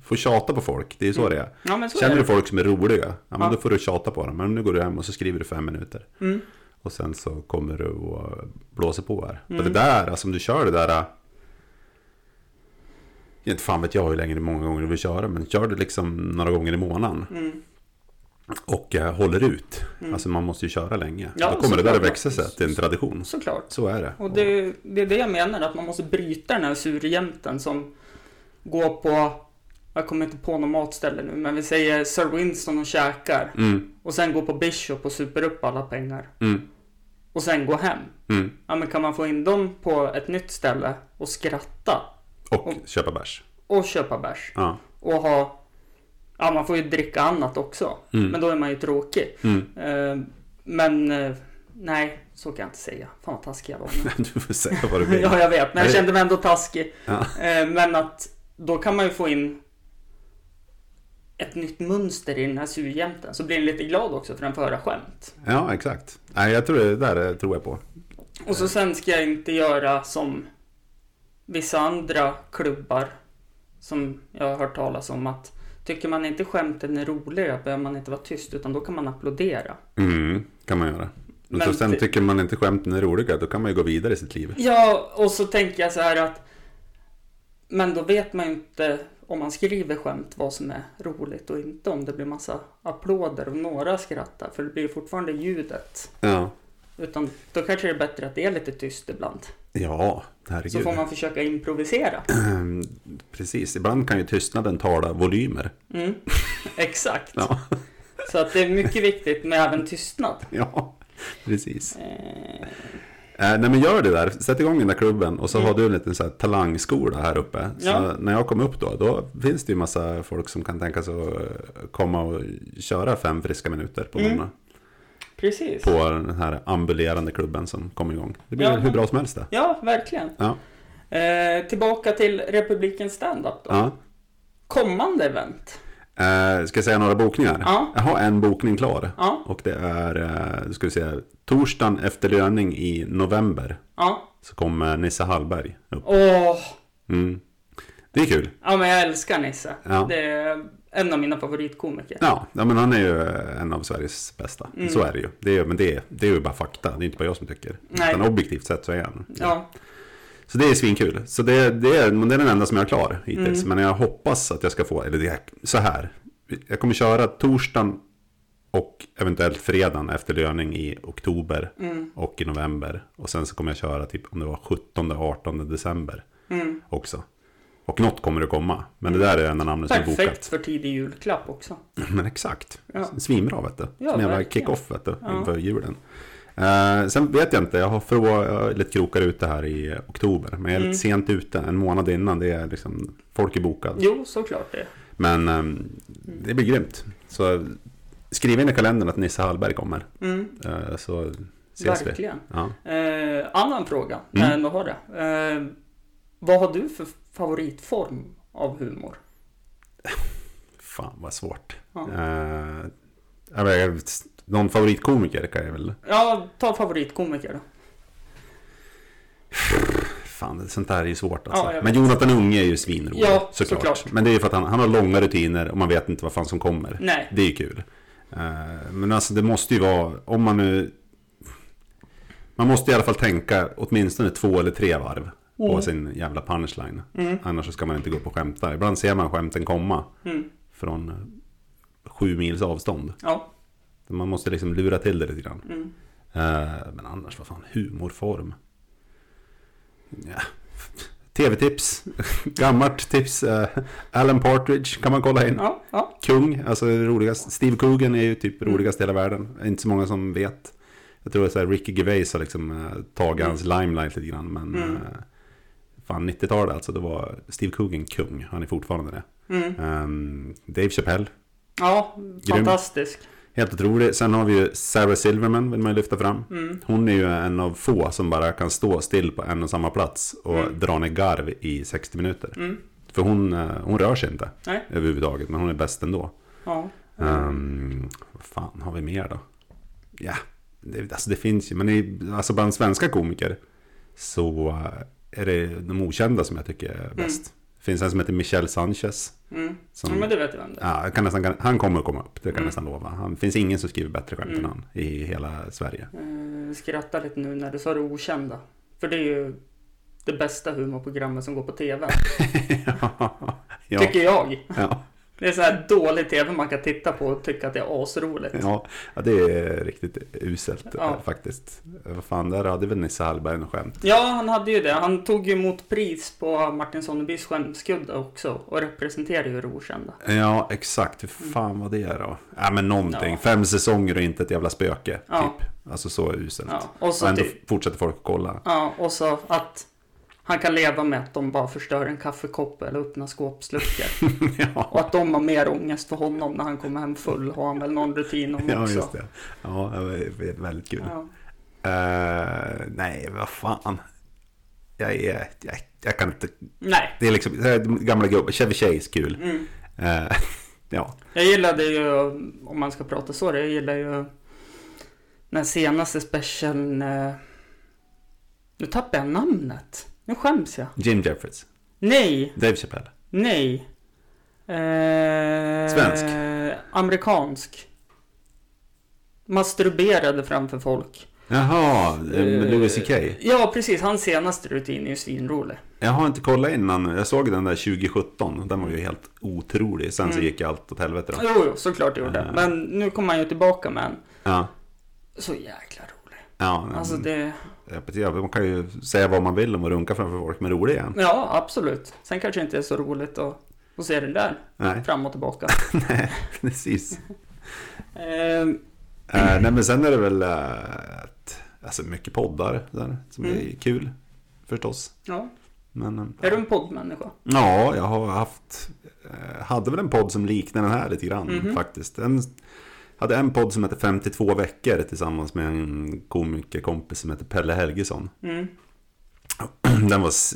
få tjata på folk, det är ju så det är. Ja, men Mm. så Känner är du det. folk som är roliga, ja, men Ja. då får du tjata på dem. Men nu går du hem och så skriver du fem minuter. Mm. Och sen så kommer du och blåser på här. Mm. Och det där, alltså om du kör det där... äh, Inte fan vet jag hur länge, många gånger du vill köra, men kör det liksom några gånger i månaden. Mm. Och eh, håller ut. Alltså man måste ju köra länge. Ja, Då kommer det där såklart. att växa sig till en tradition. Såklart. Så är det. Och det, det är det jag menar, att man måste bryta den här surjämten som går på, jag kommer inte på något matställe nu, men vi säger Sir Winston och käkar. Mm, Och sen gå på Bishop och super upp alla pengar. mm, Och sen gå hem. mm. Ja men kan man få in dem på ett nytt ställe och skratta Och Och- köpa bärs. och köpa bärs. Ja. Och ha... Ja man får ju dricka annat också. Mm. Men då är man ju tråkig. Mm. [LAUGHS] Eh, men eh, nej, så kan jag inte säga. Fan vad taskig jag var nu. Du får säga vad du vill. [LAUGHS] ja jag vet, men jag Nej. kände mig ändå taskig. Ja. Eh, men att då kan man ju få in ett nytt mönster i den här surjämten. Så blir den lite glad också för den får höra skämt. ja, exakt. Nej, jag tror det där eh, tror jag på. Och så sen ska jag inte göra som vissa andra klubbar som jag har hört talas om att tycker man inte skämten är roliga behöver man inte vara tyst utan då kan man applådera. Mm, kan man göra. Men Men så sen det- tycker man inte skämten är roliga, då kan man ju gå vidare i sitt liv. Ja, och så tänker jag så här att men då vet man ju inte om man skriver skämt vad som är roligt och inte om det blir massa applåder och några skrattar för det blir ju fortfarande ljudet. Ja. Utan då kanske det är bättre att det är lite tyst ibland. Ja, Så herregud. får man försöka improvisera. [CLEARS THROAT] Precis, ibland kan ju tystnaden tala volymer. [LAUGHS] Mm. [LAUGHS] Exakt. Ja, Så att det är mycket viktigt med även tystnad. ja. Precis. Eh, Eh, nej men gör det där, sätt igång den där klubben och så Mm. har du en liten så här, talangskola här uppe. Så Ja. när jag kom upp då, då finns det ju massa folk som kan tänka sig att eh, komma och köra fem friska minuter på Mm. morgonen. precis. På den här ambulerande klubben som kom igång. Det blir Ja. hur bra som helst det. Ja, verkligen. Ja. Eh, tillbaka till Republiken Standup då. Ja. Kommande event. Eh, ska jag säga några bokningar? Ja. Jag har en bokning klar. Ja, Och det är, eh, ska vi säga, torsdagen efter löning i november. ja. Så kommer Nisse Hallberg upp. Åh, Mm. Det är kul. ja men jag älskar Nisse. Ja. Det är en av mina favoritkomiker. Ja, ja, men han är ju eh, en av Sveriges bästa. Mm. Så är det ju. Det är, ju- men det, är- det är ju bara fakta. Det är inte bara jag som tycker. Nej. Utan objektivt sett så är han. Ja, Så det är svinkul. Så det, det, är, men det är den enda som jag är klar hittills. Mm. Men jag hoppas att jag ska få, eller det är så här. Jag kommer köra torsdagen och eventuellt fredagen efter löning i oktober Mm. och i november. Och sen så kommer jag köra typ om det var 17-18 december mm. också. Och något kommer det komma. Men det där är det enda namnet som är Perfekt bokat. för tidig julklapp också. [CLEARS THROAT] Men exakt. Ja. Svinbra vet du. Ja, Som jävla verkligen. kick-off vet du. Ja. Inför julen. Eh, sen vet jag inte, jag har frå- jag är lite krokar ute här i oktober. Men jag är Mm. lite sent ute, en månad innan. Det är liksom, folk är bokade. Jo, Mm. såklart det. Men ehm, det blir grymt. Så skriv in i kalendern att Nisse Hallberg kommer. Mm, eh, så ses vi. verkligen. Ja. Eh, annan fråga, Mm. när jag ändå har det. Eh, vad har du för favoritform av humor? Fan vad svårt. Ja. Eh, jag vet, någon favoritkomiker kan jag väl... Ja, ta favoritkomiker då. Fan, sånt där är ju svårt alltså. Ja, jag vet. Men Jonathan Unge är ju svinrolig, Ja, såklart. såklart. Mm. Men det är ju för att han, han har långa rutiner och man vet inte vad fan som kommer. Nej. Det är ju kul. Eh, Men alltså det måste ju vara, om man nu... Man måste i alla fall tänka åtminstone två eller tre varv på Mm. sin jävla punchline. Annars så ska man inte gå upp och skämta. Ibland ser man skämten komma Mm. från eh, sju mils avstånd. Ja. Man måste liksom lura till det lite grann. Mm. Eh, Men annars, vad fan, humorform? Ja. Tv-tips, [LAUGHS] gammalt tips. eh, Alan Partridge kan man kolla in. Ja, ja. Kung, alltså det roligaste. Steve Coogan är ju typ Mm. roligast i hela världen. Inte så många som vet. Jag tror att så här, Ricky Gervais har liksom eh, tagit hans limelight lite grann. Men Mm. eh, fan 90-talet alltså, då var Steve Coogan kung. Han är fortfarande det. Mm. Ehm, Dave Chappelle, ja fantastisk. helt otrolig. Sen har vi ju Sarah Silverman, vill man ju lyfta fram. Mm. Hon är ju en av få som bara kan stå still på en och samma plats och Mm. dra ner garv i 60 minuter. Mm. För hon, eh, hon rör sig inte Nej. Mm. överhuvudtaget, men hon är bäst ändå. Ja. Ehm, vad fan har vi mer då? Ja, det, alltså det finns ju, men i, alltså bland svenska komiker så eh, är det de okända som jag tycker är bäst. Det finns en som heter Michel Sanchez. Mm. Som, ja, men du vet vem det är. ja, jag kan nästan, han kommer att komma upp, det kan jag Mm. nästan lova. Han det finns ingen som skriver bättre skämt än Mm. han i hela Sverige. Eh, skrattar lite nu när du sa det okända. För det är ju det bästa humorprogrammet som går på TV. [LAUGHS] ja, [LAUGHS] ja, Tycker jag. ja, Det är så här dålig TV man kan titta på och tycka att det är asroligt. ja, det är riktigt uselt Ja. eh, faktiskt. Eh, Vad fan, där hade väl Nisse Hallberg något skämt. Ja, han hade ju det. Han tog ju emot pris på Martin Sonnebys skämskudde också och representerar ju det okända. Ja, exakt. Hur fan var det då? Ja, men någonting. Ja. Fem säsonger och inte ett jävla spöke. Ja. Typ. Alltså så uselt. Ja, och och så, ändå typ, fortsätter folk att kolla. [LAUGHS] ja, och så att han kan leva med att de bara förstör en kaffekopp eller öppnar skåpsluckor. ja, Och att de har mer ångest för honom när han kommer hem full har han väl någon rutin om [LAUGHS] ja, också. just det. Ja, det var väldigt kul. Ja. Eh, nej, vad fan. Jag, är, jag, jag kan inte... Nej. Det är liksom det här är gamla gubbar. Chevy Chase kul. Mm. Eh, [LAUGHS] ja. Jag gillade ju, om man ska prata så, jag gillar ju den senaste specialen. eh, Nu tappar jag namnet. Nu skäms jag. Jim Jeffries. Nej, Dave Chappelle. nej. Eh, Svensk. Amerikansk. Masturberade framför folk. Jaha, eh, Eh, Louis CK. Ja, precis. Hans senaste rutin är ju svinrolig. Jag har inte kollat innan. Jag såg den där 2017. Den var ju helt otrolig. Sen så Mm. gick allt åt helvete då. Jo, jo, såklart det gjorde. Eh. Men nu kommer han ju tillbaka med en. Ja. Så jäkla rolig. Ja, nej, Alltså men- det... jag vet inte, man kan ju säga vad man vill om att runka framför folk, men rolig är han. Ja, absolut. Sen kanske det inte är så roligt att, att se den där Nej, [LAUGHS] fram och tillbaka. precis. Ehm, Eh, nej men sen är det väl eh, att, alltså mycket poddar där som är Mm. kul förstås. Ja. Men, eh, Är du en poddmänniska? Ja, jag har haft, eh, hade väl en podd som liknar den här lite grann Mhm. faktiskt. En, hade en podd som hette 52 veckor tillsammans med en komikerkompis som hette Pelle Helgesson. Mm. [CLEARS THROAT] Den var s-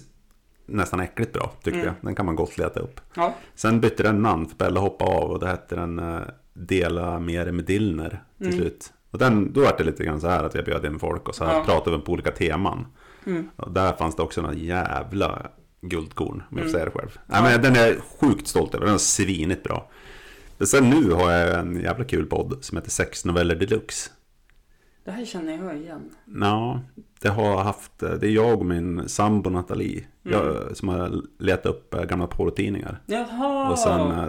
nästan äckligt bra tyckte Mm. jag. Den kan man gott leta upp. Ja. Sen bytte den namn för Pelle hoppade av och det hette den eh, Dela med dig med Dillner till Mm. slut. Och den, då var det lite grann så här att jag bjöd in folk och så här Ja. pratade vi på olika teman. Mm. Och där fanns det också några jävla guldkorn, om jag Mm. får säga det själv. Nej, men den är jag sjukt stolt över, den är svinigt bra. Men sen nu har jag en jävla kul podd som heter Sex noveller deluxe. Det här känner jag igen. Ja, det har jag haft, det är jag och min sambo Nathalie Mm. jag, som har letat upp eh, gamla porrtidningar. Jaha! Och sen, eh,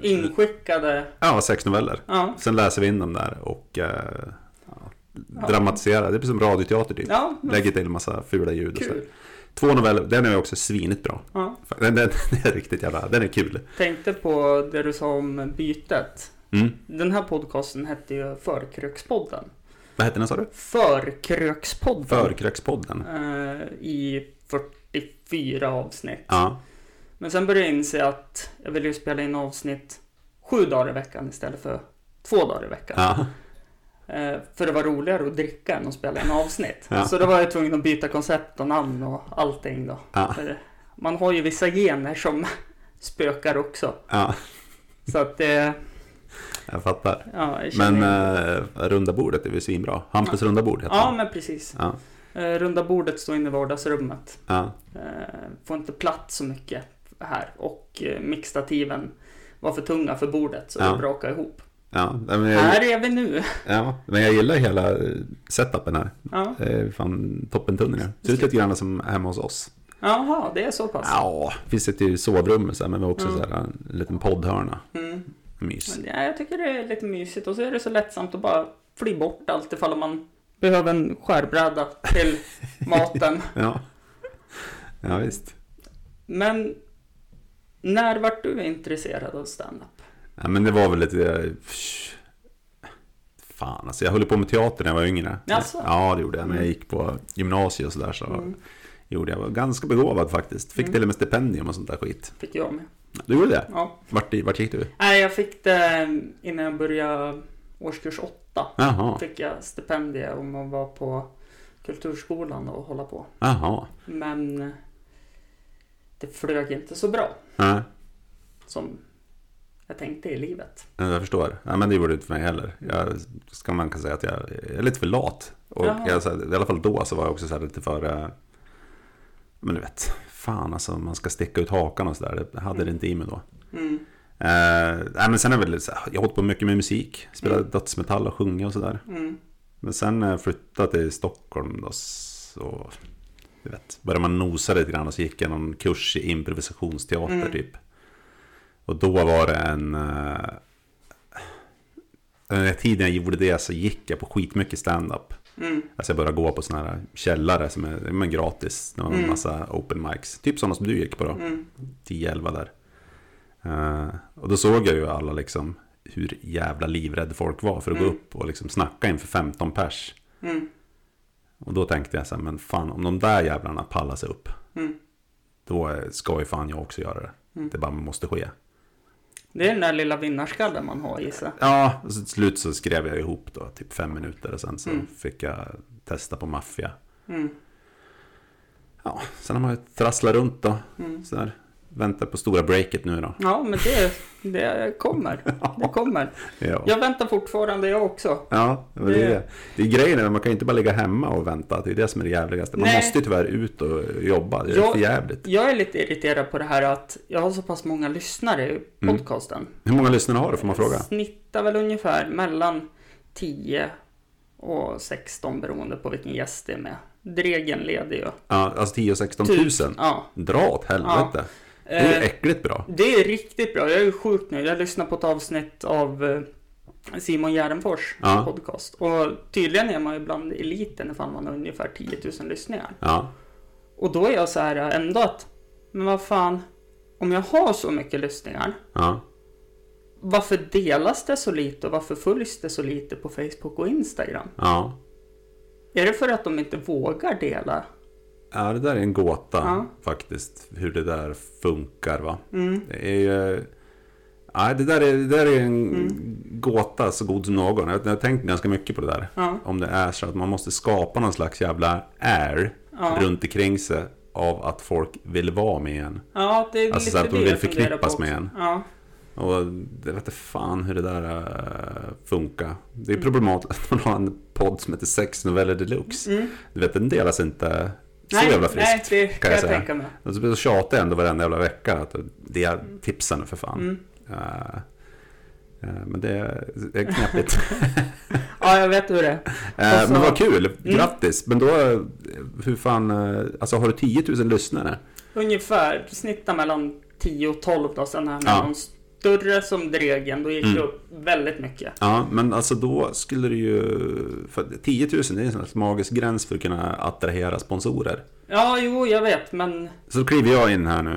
Inskickade. ja, sex noveller. Ja. Sen läser vi in dem där och eh, ja, dramatiserar, det blir som radioteater typ. Ja, men Lägger till massa fula ljud och så. kul. Två noveller, den är också svinigt bra. Ja. Den, den, [LAUGHS] den är riktigt jävla, den är kul. Tänkte på det du sa om bytet. Mm. Den här podcasten hette ju Förkrökspodden. Vad hette den sa du? Förkrökspodden. Förkrökspodden. Eh, I 44 avsnitt. Ja. Men sen började jag inse att jag ville ju spela in avsnitt sju dagar i veckan istället för två dagar i veckan. ja. Eh, För det var roligare att dricka än att spela in avsnitt. Ja. Så då var jag tvungen att byta koncept och namn och allting då. Ja. För man har ju vissa gener som [LAUGHS] spökar också. Ja, Så att det... jag fattar. Ja, jag känner Men igen det. eh, runda bordet är väl svinbra? Hampus runda bord heter Ja, den. men precis. Ja. Eh, Runda bordet står inne i vardagsrummet. Ja. Eh, Får inte plats så mycket här. Och eh, mixstativen var för tunga för bordet så Ja. det brakade ihop. Ja. Nej, Men jag, Här är vi nu. ja, men jag gillar hela eh, setupen här. Ja. Det är fan toppentunnel. nu. Ser ut lite grann som hemma hos oss. Jaha, det är så pass. Ja, finns ett i sovrummet så här, men vi har också Alltså. Mm. så här, en liten poddhörna. Mm. Mys. Ja, jag tycker det är lite mysigt och så är det så lättsamt att bara fly bort allt ifall man behöver en skärbräda [LAUGHS] till maten. Ja. ja, visst. Men när vart du intresserad av standup? Ja, men det var väl lite... eh, psh. Fan, alltså jag höll på med teater när jag var yngre. Jaså? Ja, det gjorde jag. När jag gick på gymnasiet och sådär så Mm. gjorde jag. jag. var ganska begåvad faktiskt. Fick Mm. till och med stipendium och sånt där skit. Fick jag med. Du gjorde det? Ja. Vart, i- vart gick du? Nej, jag fick det innan jag började årskurs åtta. Jaha, Fick jag stipendier om att vara på kulturskolan och hålla på. jaha. Men det flög inte så bra Ja, som jag tänkte i livet. jag förstår. Ja, men det gjorde det inte för mig heller. Jag, ska man kan säga att jag är lite för lat. Och Jaha. jag, så här, I alla fall då så var jag också så här lite för... eh, Men du vet, fan alltså man ska sticka ut hakan och sådär. Det hade det Mm. inte i mig då. Mm. Eh, nej, men sen är väl det så här, jag har hållit på mycket med musik, spelat Mm. dödsmetall och sjunga och sådär. Mm. Men sen när jag flyttade till Stockholm då så du vet, började man nosa lite grann och så gick jag någon kurs i improvisationsteater Mm. typ. Och då var det en... Eh, den här tiden jag gjorde det så gick jag på skitmycket stand-up. Mm. Alltså jag började gå på sådana här källare som är men gratis, det var en Mm. massa open mics. Typ sådana som du gick på då. Mm. 10-11 där. Eh, och då såg jag ju alla liksom hur jävla livrädd folk var för att gå Mm. upp och liksom snacka inför 15 pers. Mm. Och då tänkte jag så här, men fan om de där jävlarna pallar sig upp, Mm. då eh, ska ju fan jag också göra det. Mm. Det bara måste ske. Det är den där lilla vinnarskallen man har gissa. Ja, och så till slut så skrev jag ihop då, typ fem minuter och sen så Mm. fick jag testa på maffia. Mm. Ja, sen har man ju trasslat runt då, Mm. så där. Väntar på stora breaket nu [LAUGHS] då. Ja, men det, det kommer. Det kommer. Ja. Jag väntar fortfarande jag också. Ja, men det, är det. det är grejen, är att man kan ju inte bara ligga hemma och vänta. Det är det som är det jävligaste. Man Nej. måste ju tyvärr ut och jobba. Det är Ja. för jävligt. Jag är lite irriterad på det här att jag har så pass många lyssnare i Mm. podcasten. Hur många lyssnare har du, får man fråga? Snittar väl ungefär mellan 10 och 16 beroende på vilken gäst det är med. Dregen leder ju. Ja, alltså 10 och 16 Tusen, 000. Typ. Ja. Dra åt helvete. Det är Eh, äckligt bra. Det är riktigt bra. Jag är ju sjukt nöjd. Jag lyssnade på ett avsnitt av eh, Simon Järnfors Ja. podcast. Och tydligen är man ju bland eliten ifall man har ungefär 10 000 lyssningar. Ja, Och då är jag så här eh, ändå att, men vad fan, om jag har så mycket lyssningar, ja, varför delas det så lite och varför följs det så lite på Facebook och Instagram? Ja. Är det för att de inte vågar dela? ja, det där är en gåta Ja. faktiskt. Hur det där funkar va. Mm. Det är ju... Ja, det där är, det där är en Mm. gåta så god som någon. Jag jag har tänkt ganska mycket på det där. Ja. Om det är så att man måste skapa någon slags jävla air Ja. runt omkring sig av att folk vill vara med en. Ja, det är Alltså så lite att de det vill jag funderar förknippas på med också. en. Ja. Och jag vet inte fan hur det där eh, funkar. Det Mm. är problematiskt att man har en podd som heter Sex Noveller Deluxe. Mm. Du vet, den delas inte så Nej, jävla friskt. nej, det kan jag, jag säga. tänka mig. Och så tjatar jag ändå varenda jävla vecka att det är tipsen för fan. Mm. Eh, eh, men det är, det är knepigt. [LAUGHS] [LAUGHS] Ja, jag vet hur det är. Eh, Och så- Men vad kul, mm. grattis! Men då, eh, hur fan, eh, alltså har du 10 000 lyssnare? Ungefär, snittar mellan 10 och 12 då. Sen här med Ja. de större som Dregen, då gick Mm. det upp väldigt mycket. Ja, men alltså då skulle du ju, för 10 000 det är en sån här magisk gräns för att kunna attrahera sponsorer. Ja, jo, jag vet, men Så kliver jag in här nu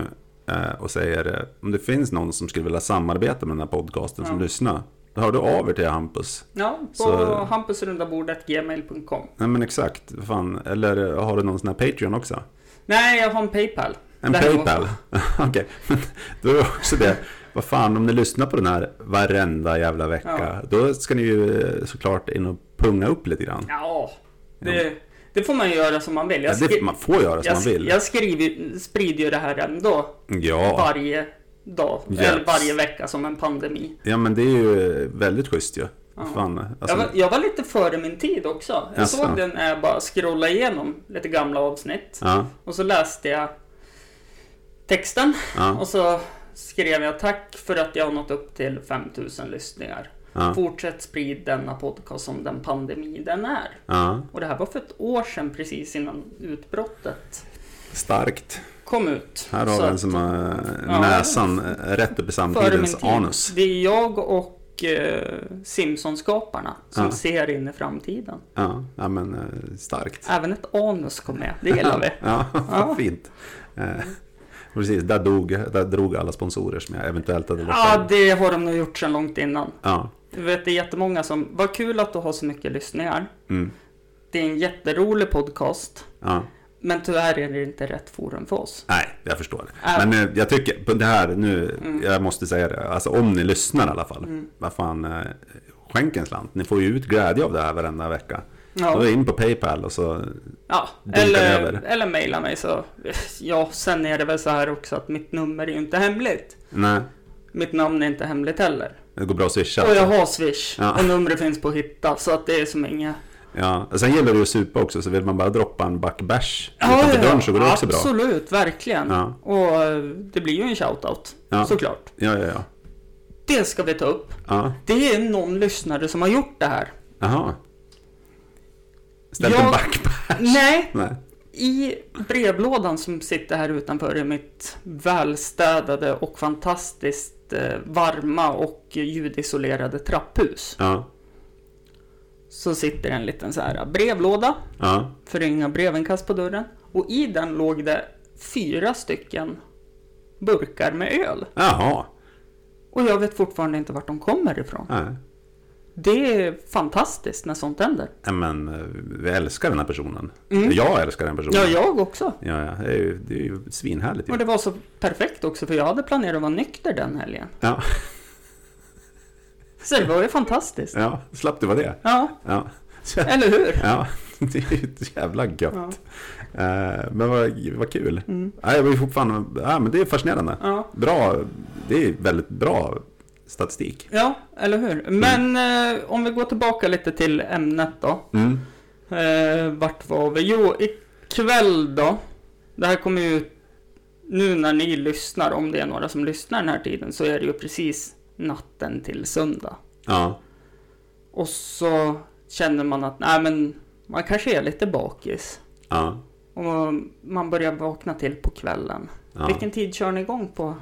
eh, och säger eh, om det finns någon som skulle vilja samarbeta med den här podcasten som Ja. lyssnar. Då hör du av er till Hampus. ja, på Så- hampusrundabordet.gmail.com. Nej men exakt, vad fan. Eller eh, har du någon sån här Patreon också? Nej, jag har en Paypal. En Däremot- Paypal? [LAUGHS] Okej, men då är det också det. Vad fan, om ni lyssnar på den här varenda jävla vecka, då ska ni ju eh, såklart in och punga upp lite grann. Ja, det, det får man ju göra som man vill. Ja, Jag, det, skri- man får göra som jag, man sk- vill. jag skriver, sprider ju det här ändå ja. varje dag, Yes. eller varje vecka som en pandemi. ja, men det är ju väldigt schysst ju. Ja. Fan, Jag alltså, var, jag var lite före min tid också. Jag Jaså? såg den när jag bara scrollade igenom lite gamla avsnitt. ja, Och så läste jag texten ja, och så skrev jag tack för att jag har nått upp till 5000 lyssningar. ja, Fortsätt sprid denna podcast som den pandemi den är. ja. Och det här var för ett år sedan precis innan utbrottet Starkt. kom ut. Här har Så vi en att- som har Ja. näsan eh, rätt upp i före min samtidens tid. anus. Det är jag och eh, Simpsonskaparna som Ja. ser in i framtiden. Ja, ja, men eh, starkt. Även ett anus kom med, det gillar [LAUGHS] vi. Ja, Ja. vad fint. Eh, Precis, där, dog, där drog alla sponsorer som jag eventuellt hade Ja, lockat. det har de nog gjort sedan långt innan. Ja, Du vet, det är jättemånga som, vad kul att du har så mycket lyssningar. mm, Det är en jätterolig podcast, ja. men tyvärr är det inte rätt forum för oss. Nej, jag förstår det. Ja. Mm. Men eh, jag tycker, på det här nu, jag måste säga det, alltså om ni lyssnar i alla fall, vad fan, eh, skänk en slant. Ni får ju ut glädje av det här varenda vecka. Ja. Då är in på Paypal och så, Ja, Dunkar eller, över. eller mejla mig så. Ja, sen är det väl så här också att mitt nummer är ju inte hemligt. nej, Mitt namn är inte hemligt heller. det går bra att swisha. Och jag har Swish. Ja. Och numret finns på att hitta. Så att det är som inga... Ja, och sen gäller det ju att supa också, så vill man bara droppa en back bash utanför dörren så går det också bra. Absolut, verkligen. Ja. Och eh, det blir ju en shoutout. Ja. Såklart. Ja, ja, ja. Det ska vi ta upp. ja. Det är någon lyssnare som har gjort det här. Jaha. Ställt Jag- en back bash. Nej, Nej. i brevlådan som sitter här utanför i mitt välstädade och fantastiskt eh, varma och ljudisolerade trapphus. Ja, Så sitter en liten så här brevlåda. ja, för inga brevinkast på dörren. Och i den låg det fyra stycken burkar med öl. jaha. Och jag vet fortfarande inte vart de kommer ifrån. Nej. Det är fantastiskt när sånt händer. Nej, Men eh, vi älskar den här personen. Jag älskar den personen. Mm. Ja, jag också. Ja, ja. Det, är ju, det är ju svinhärligt. Ju. Och det var så perfekt också för jag hade planerat att vara nykter den helgen. Ja, Så det var ju fantastiskt. ja, slapp du vara det. Ja, Ja. Så, eller hur? ja, [LAUGHS] det är ju ett jävla Ja. gött. Eh, Men vad, vad kul. Mm. Nej, jag blir fortfarande, ja, men det är fascinerande. Ja. Bra, det är väldigt bra statistik. Ja, eller hur? Men eh, om vi går tillbaka lite till ämnet då. Mm. Eh, vart var vi? Jo, ikväll då. Det här kommer ju nu när ni lyssnar, om det är några som lyssnar den här tiden, så är det ju precis natten till söndag. Ja, Och så känner man att, nej men, man kanske är lite bakis. ja, Och man börjar vakna till på kvällen. ja. Vilken tid kör ni igång på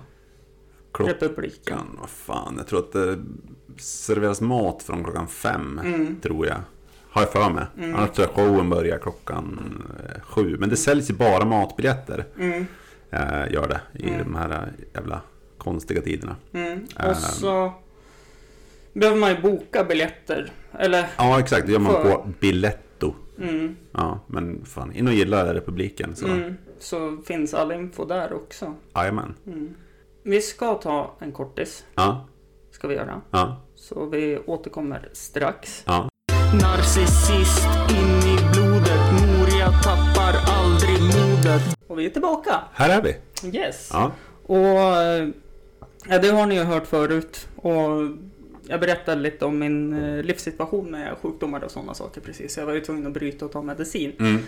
Klockan. Republiken? klockan, vad fan, jag tror att det serveras mat från klockan fem, Mm. tror jag. Har jag för mig. Annars tror jag showen börjar klockan eh, sju. Men det säljs ju bara matbiljetter, Mm, eh, gör det, i de här jävla eh, konstiga tiderna. mm. Ehm. Och så behöver man ju boka biljetter. Eller, Ja, exakt. Det gör man För- på Biletto. mm, Ja, men fan, in och gilla Republiken. Så. mm, så finns all info där också. Jajamän. Mm. Vi ska ta en kortis, Ja, ska vi göra. ja, Så vi återkommer strax. ja. Narcissist in i blodet. Moria tappar aldrig modet. Och vi är tillbaka! Här är vi. Yes! Ja, Och eh, ja, det har ni ju hört förut. Och jag berättade lite om min eh, livssituation med sjukdomar och sådana saker precis. Jag var ju tvungen att bryta och ta medicin. mm.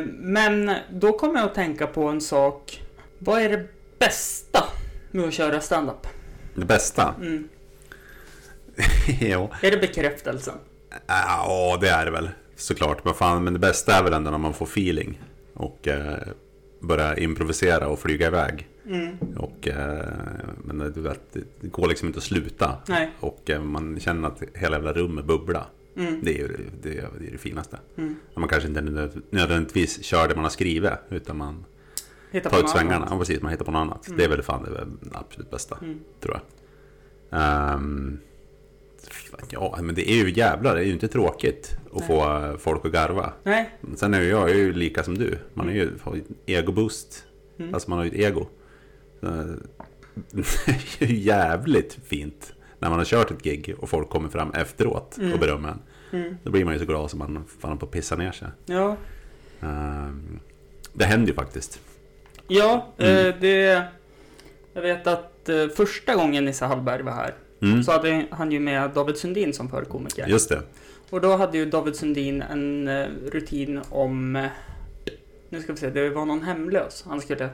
Eh, Men då kom jag att tänka på en sak. Vad är det bästa med att köra standup? det bästa. [LAUGHS] Mm. jo. Är det bekräftelsen? Ja, det är det väl såklart. Men, fan, men det bästa är väl ändå när man får feeling och eh, börjar improvisera och flyga iväg. Mm. Och, eh, men du vet, det går liksom inte att sluta. Nej. Och eh, man känner att hela jävla rummet bubblar. Mm. Det är ju det, det, är det finaste. Mm. Man kanske inte nöd- nödvändigtvis kör det man har skrivit utan man Hitta tar något ut svängarna. annat. Ja, precis, man hittar på något annat. Det är väl fan det, det absolut bästa, Mm. tror jag. Ehm, fan, ja, men det är ju jävlar, det är ju inte tråkigt att Nej. få eh, folk att garva. Nej. Sen är ju jag, jag är ju lika som du. Man är ju har ju ett ego-boost. Mm. Alltså man har ju ett ego. Eh, [LAUGHS] Det är ju jävligt fint när man har kört ett gig och folk kommer fram efteråt och berömmer en. Mm. Då blir man ju så glad som man fan på att pissa ner sig. Ja. Ehm, Det händer ju faktiskt. Ja, Mm. eh, det... Jag vet att eh, första gången Nisse Hallberg var här Mm. så hade han ju med David Sundin som förkomiker. Just det. Och då hade ju David Sundin en eh, rutin om... eh, Nu ska vi se, det var någon hemlös. Han skulle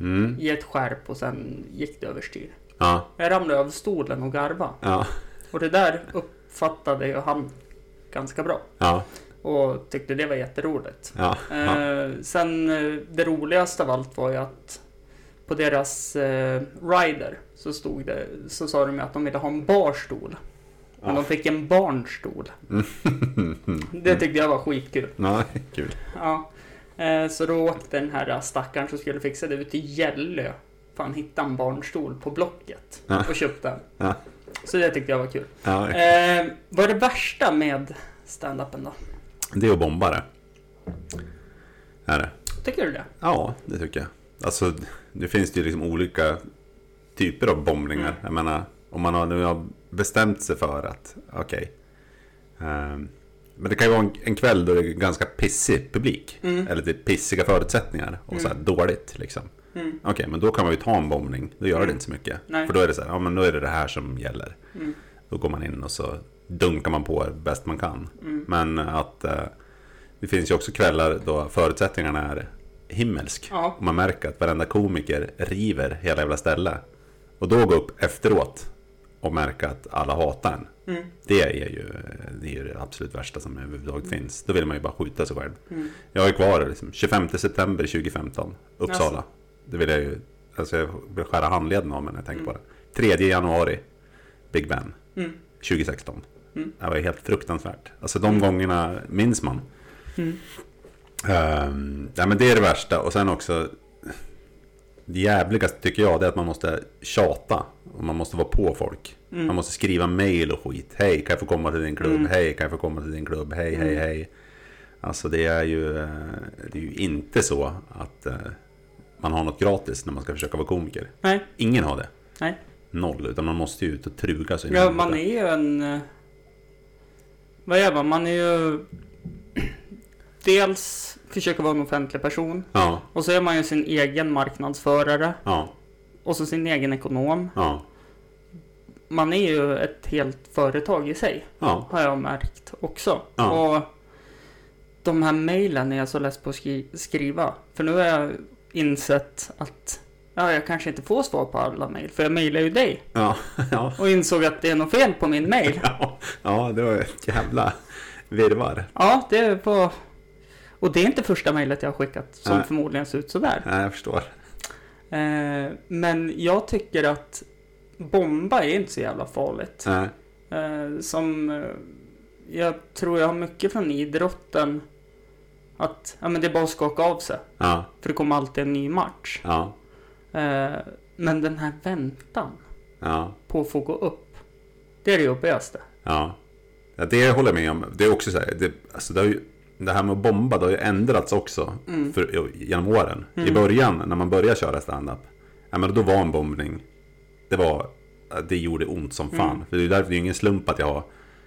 Mm. ge ett skärp och sen gick det överstyr. Ja, Jag ramlade över stolen och garva. ja, Och det där uppfattade ju han ganska bra. ja, Och tyckte det var jätteroligt. ja. ja. Eh, sen eh, det roligaste av allt var ju att på deras eh, rider så, stod det, så sa de ju att de ville ha en barstol. Men Ja. de fick en barnstol. [LAUGHS] Det tyckte jag var skitkul. ja Mm. kul. Ja. Eh, Så då åkte den här stackaren som skulle fixa det ut till Gällö. Fan, hittade en barnstol på Blocket Ja. och köpte den. Ja. Så det tyckte jag var kul. Ja. Eh, vad är det värsta med stand-upen då? Det är att bomba det. Är det? Tycker du det? Ja, det tycker jag. Alltså, nu finns det ju liksom olika typer av bombningar. Mm. Jag menar, om man har, nu har bestämt sig för att, okej. Ehm, men det kan ju vara en, en kväll då det är ganska pissig publik. Eller det är pissiga förutsättningar och så här dåligt liksom. Mm. Okej, men då kan man ju ta en bombning. Då gör det inte så mycket. Nej. Mm. För då är det så här, ja men då är det det här som gäller. Då går man in och så dunkar man på bäst man kan. Mm. Men att eh, det finns ju också kvällar då förutsättningarna är himmelsk. Ja. Och man märker att varenda komiker river hela jävla stället. Och då gå upp efteråt och märka att alla hatar en. Det, är ju, det är ju det absolut värsta som överhuvudtaget finns. Då vill man ju bara skjuta sig själv. Jag är kvar liksom, 25 september 2015, Uppsala. Jaså. Det vill jag ju, alltså jag vill skära handleden av mig när jag tänker på det. 3 januari, Big Ben, 2016. Det var ju helt fruktansvärt. Alltså de gångerna minns man. Ehm, ja, men det är det värsta och sen också det jävligaste tycker jag det är att man måste tjata. Och man måste vara på folk. Mm. Man måste skriva mail och skit. Hej, kan jag få komma till din klubb? Hej, kan jag få komma till din klubb? Hej, Mm. hej, hej. Alltså det är ju, eh, det är ju inte så att eh, man har något gratis när man ska försöka vara komiker. Nej. Ingen har det. Nej. Noll, utan man måste ju ut och truga sig. Ja, man är ju en... eh, Vad är man? Man är ju... Dels försöker vara en offentlig person. Ja, Och så är man ju sin egen marknadsförare. ja, Och så sin egen ekonom. ja, Man är ju ett helt företag i sig. ja, har jag märkt också. Ja. Och de här mejlen är jag så less på att skri- skriva. För nu har jag insett att ja, jag kanske inte får svar på alla mejl. För jag mejlar ju dig. ja, ja. Och insåg att det är något fel på min mejl. Ja, [LAUGHS] ja, det var ett jävla virrvarr. Ja, det var... Och det är inte första mejlet jag har skickat som Nej. förmodligen ser ut sådär. Nej, jag förstår. Eh, men jag tycker att bomba är inte så jävla farligt. Nej, Eh, som eh, jag tror jag har mycket från idrotten. Att ja, men det är bara att skaka av sig. ja, För det kommer alltid en ny match. ja, Eh, men den här väntan ja, på att få gå upp. Det är det jobbigaste. Ja. ja, det håller jag med om. Det är också så här, det, alltså det, har ju, det här med att bomba det har ju ändrats också för, genom åren. I början när man började köra stand-up, ja, men då var en bombning, det, var, eh, det gjorde ont som fan. För det är ju därför det är ju ingen slump att jag har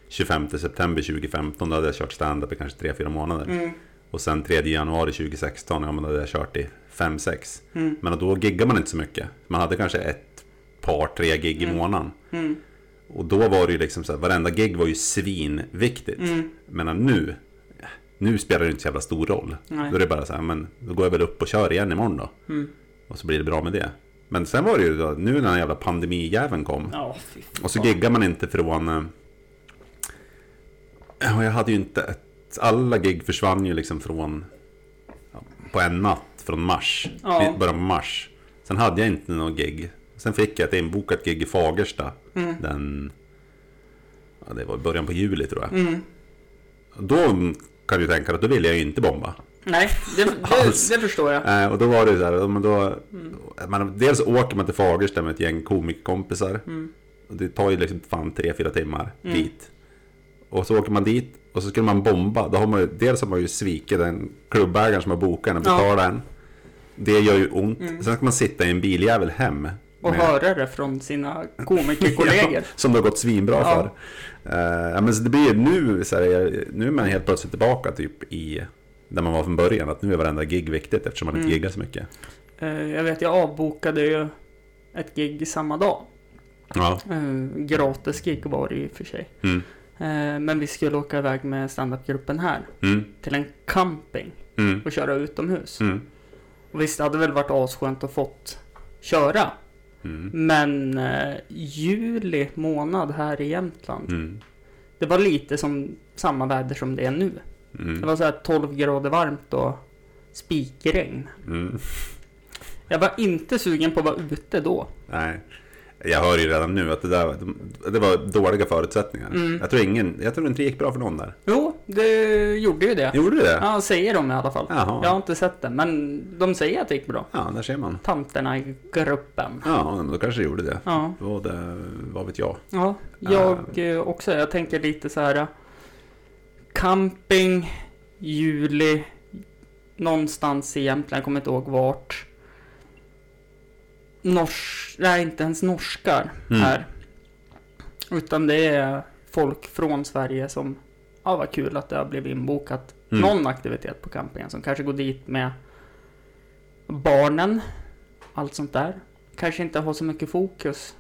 25 september 2015, då hade jag kört stand-up i kanske 3-4 månader. Och sen 3 januari 2016, ja men då hade jag kört i 5-6. Men då giggade man inte så mycket. Man hade kanske ett par, tre gig i månaden. Och då var det ju liksom så här, varenda gig var ju svinviktigt. Medan nu, nu spelar det inte så jävla stor roll. Nej. Då är det bara så här, men då går jag väl upp och kör igen imorgon då. Och så blir det bra med det. Men sen var det ju då, nu när den här jävla pandemijäveln kom. Ja, fy fan. Och så giggar man inte från... eh, Och jag hade ju inte ett... Alla gig försvann ju liksom från... ja, På en natt, från mars. Ja. I Början på mars. Sen hade jag inte någon gig. Sen fick jag ett inbokat gig i Fagersta. Den... Ja, det var i början på juli tror jag. Då kan du tänka dig att då ville jag ju inte bomba. Nej, det, det, Alls. det förstår jag. Eh, och då var det så här, ja, men då, Mm. man, dels åker man till Fagersta med ett gäng komikkompisar. Mm. Och det tar ju liksom fan 3-4 timmar dit. Och så åker man dit och så skulle man bomba. Då har man ju, dels har man ju svikit den klubbägaren som har bokat den och Ja. Mm. betalat den. Det gör ju ont. Sen ska man sitta i en biljävel hem. [LAUGHS] Och med- höra det från sina komikerkollegor. [LAUGHS] Ja, som det har gått svinbra Ja. för. Eh, ja, men så det blir nu, så här, nu är man helt plötsligt tillbaka typ i där man var från början. Att nu är varenda gig viktigt eftersom man Mm. inte giggar så mycket. Eh, Jag vet, jag avbokade ju ett gig samma dag. Ja. Eh, Gratis gig var det ju i och för sig. Mm. Eh, Men vi skulle åka iväg med standupgruppen här Mm. till en camping Mm. och köra utomhus. Mm. Och visst, det hade väl varit asskönt att fått köra. Mm. Men eh, juli månad här i Jämtland. Mm. Det var lite som samma väder som det är nu. Det Mm. var så här 12 grader varmt och spikregn. Mm. Jag var inte sugen på att vara ute då. Nej. Jag hör ju redan nu att det, där, det var dåliga förutsättningar. Mm. Jag, tror ingen, jag tror inte det gick bra för någon där. Jo, det gjorde ju det. Gjorde du det? Ja, säger de i alla fall. Jaha. Jag har inte sett det, men de säger att det gick bra. Ja, där ser man. Tanterna i gruppen. Ja, men då kanske det gjorde det. Ja, Vad, det, vad vet jag? ja. jag eh, också. Jag tänker lite så här. eh, Camping, juli, någonstans i Jämtland, jag kommer inte ihåg vart. Nors, nej inte ens norskar Mm. här. Utan det är folk från Sverige som, ja vad kul att det har blivit inbokat Mm. någon aktivitet på campingen som kanske går dit med barnen, allt sånt där. Kanske inte har så mycket fokus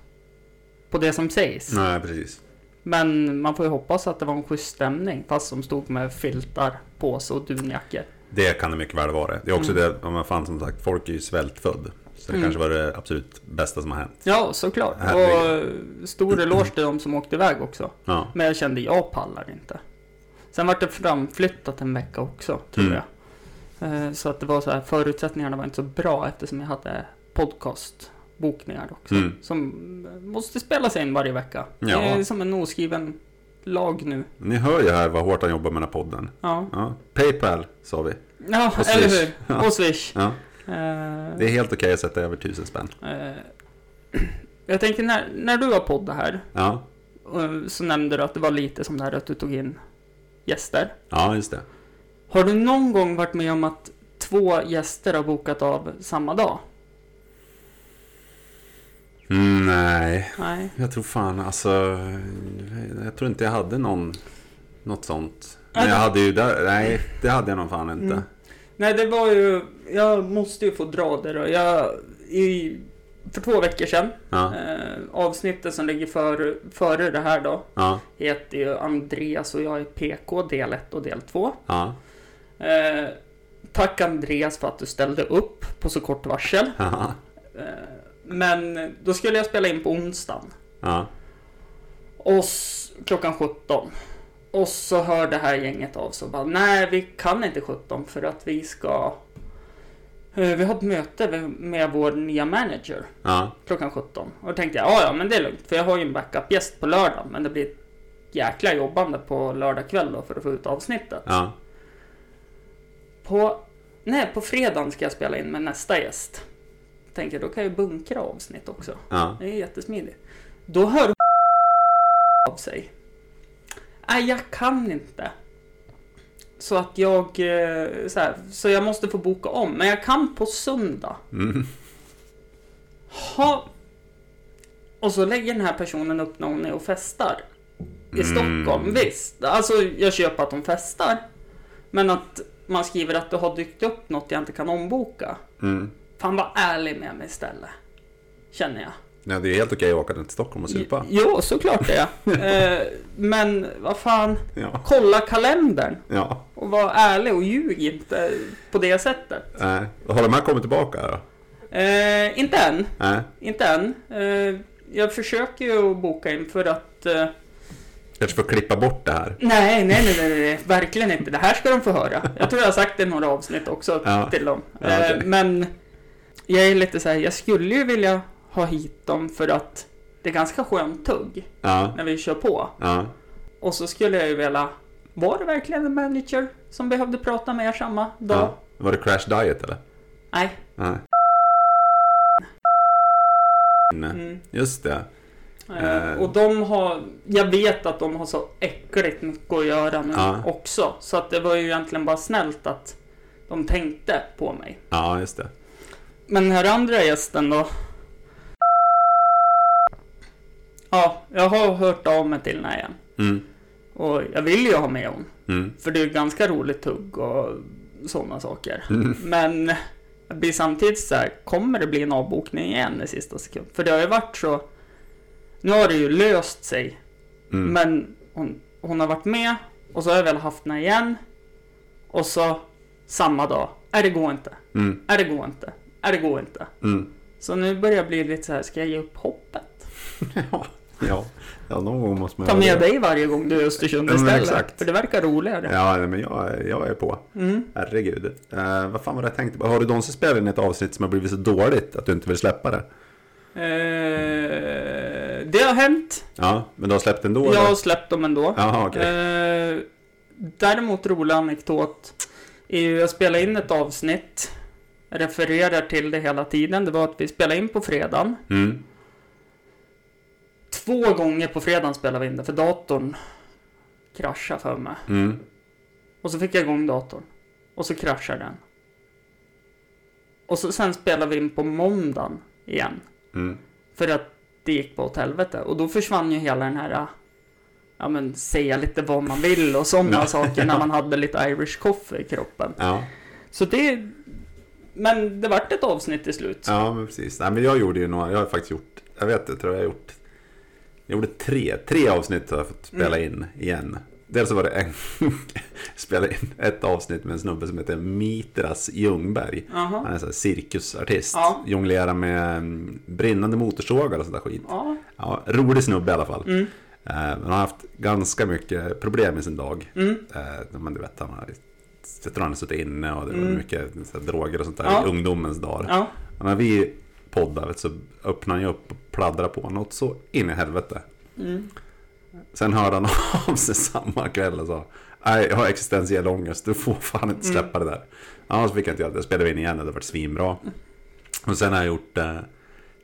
på det som sägs. Nej, precis. Men man får ju hoppas att det var en schysst stämning fast de stod med filtar, påse och dunjackor. Det kan det mycket väl vara. Det är också det, om man fan som sagt, folk är ju svältfödd. Så det Mm. kanske var det absolut bästa som har hänt. Ja, såklart. Och eh, Herregud. stor eloge till de som åkte iväg också. Ja. Men jag kände, jag pallar inte. Sen vart det framflyttat en vecka också, tror Mm. jag. Eh, Så att det var så här, förutsättningarna var inte så bra eftersom jag hade podcastbokningar också. Mm. Som måste spelas in varje vecka. Ja. Det är som en oskriven lag nu. Ni hör ju här vad hårt han jobbar med den här podden. Ja, Ja. Paypal, sa vi. ja Och eller Swish. hur? Ja. Och Swish. Ja. Eh, Det är helt okej att sätta över tusen spänn. eh, [CLEARS THROAT] Jag tänker när, när du var podd här Ja, eh, så nämnde du att det var lite som det här att du tog in gäster. ja just det. Har du någon gång varit med om att två gäster har bokat av samma dag? Mm, nej. Nej. Jag tror fan alltså, jag tror inte jag hade någon, något sånt. Men Nej, jag det- hade ju där, nej det hade jag nog fan inte. Mm. Nej, det var ju... Jag måste ju få dra det då. Jag, i, för två veckor sedan, Ja, eh, avsnittet som ligger för, före det här då, ja, heter ju Andreas och jag är PK del 1 och del 2. ja, Eh, tack Andreas för att du ställde upp på så kort varsel. ja, Eh, men då skulle jag spela in på onsdagen. ja, Och s- klockan 17. Och så hör det här gänget av sig och bara nej vi kan inte 17 för att vi ska eh, vi har ett möte med- med vår nya manager ja, klockan 17. Och då tänkte jag, ja ja men det är lugnt för jag har ju en backup-gäst på lördag men det blir ett jäkla jobbande på lördag kväll då för att få ut avsnittet. ja, På, nej, på fredagen ska jag spela in med nästa gäst. Tänker då kan jag ju bunkra avsnitt också. ja. Det är jättesmidigt. Då hör [LAUGHS] av sig. Nej, jag kan inte. Så att jag... eh, Så, här, så jag måste få boka om. Men jag kan på söndag. Mm. Ha. Och så lägger den här personen upp när hon är och festar. I Stockholm, visst. Alltså, jag köper att de festar. Men att man skriver att det har dykt upp något jag inte kan omboka. Mm. Fan, var ärlig med mig istället. Känner jag. Ja, det är helt okej att åka till Stockholm och supa. Jo, [LAUGHS] såklart det är eh, Men vad fan. Ja. Kolla kalendern. Ja. Och var ärlig och ljug inte på det sättet. Nej. Har de här kommit tillbaka då? Eh, inte än. Nej. Inte än. Eh, jag försöker ju att boka in för att... Eh, Kanske får klippa bort det här. nej, nej, nej, nej, nej, nej, verkligen inte. Det här ska de få höra. Jag tror jag har sagt det i några avsnitt också Ja. till dem. Ja, Eh, okej. Men jag är lite så här, jag skulle ju vilja ha hit dem för att det är ganska skönt tugg Ja. när vi kör på. Ja. Och så skulle jag ju vilja... Var det verkligen en manager som behövde prata med er samma dag? ja. Var det Crash Diet eller? Nej. Nej. Nej. Mm. Just det. Eh, Eh. Och de har, jag vet att de har så äckligt mycket att göra nu Ja. också. Så att det var ju egentligen bara snällt att de tänkte på mig. Ja, just det. Men den här andra gästen då? Ja, jag har hört av mig till henne igen. Mm. Och jag vill ju ha med hon. Mm. För det är ju ganska roligt tugg och sådana saker. Mm. Men jag blir samtidigt så här, kommer det bli en avbokning igen i sista sekund? För det har ju varit så, nu har det ju löst sig Mm. Men hon, hon har varit med och så har jag väl haft henne igen. Och så samma dag. Är det går inte. Mm. Är det går inte. Är det går inte. Mm. Så nu börjar jag bli lite så här, ska jag ge upp hoppet? Ja. [LAUGHS] ja. Ja, någon gång måste man Ta göra med det. dig varje gång du är i Östersund Ja, men istället. exakt. För det verkar roligare. Ja, nej, men jag, jag är på. Mm. Herregud. Eh, vad fan var det jag tänkte på? Har du någonsin spelat in ett avsnitt som har blivit så dåligt att du inte vill släppa det? Eh, det har hänt. Ja, men du har släppt ändå? Jag eller? har släppt dem ändå. Jaha, okej. Eh, däremot rolig anekdot. är ju- Jag spelade in ett avsnitt. Jag refererar till det hela tiden. Det var att vi spelade in på fredagen. Mm. Två gånger på fredagen spelade vi in det för datorn kraschade för mig. Mm. Och så fick jag igång datorn. Och så kraschade den. Och så sen spelade vi in på måndagen igen. Mm. För att det gick på åt helvete. Och då försvann ju hela den här, ja men säga lite vad man vill och sådana Ja. [LAUGHS] saker när man hade lite Irish coffee i kroppen. Ja. Så det, men det vart ett avsnitt till slut. ja, men precis. Nej, men jag gjorde ju några, jag har faktiskt gjort, jag vet det, tror jag har gjort. Jag gjorde tre, tre avsnitt har jag fått Mm. spela in igen. Dels så var det en, [LAUGHS] spela in ett avsnitt med en snubbe som heter Mitras Ljungberg. Jaha. Han är så här cirkusartist, Ja. jonglerar med mm, brinnande motorsågar och sånt där skit. Ja. Ja, rolig snubbe i alla fall. Mm. Eh, Men han har haft ganska mycket problem i sin dag. Mm. Eh, Men du vet, han har, jag tror han har suttit inne och det var Mm. mycket så här, droger och sånt där Ja. i ungdomens dagar. Ja. Men när vi poddar vet, du, så öppnar han ju upp och pladdrar på något så in i helvete. Mm. Sen hörde han av sig samma kväll och sa Nej, jag har existentiell ångest, du får fan inte släppa det där. Annars fick jag inte göra det, spelade vi in igen, det hade varit svinbra. Och sen har jag gjort eh,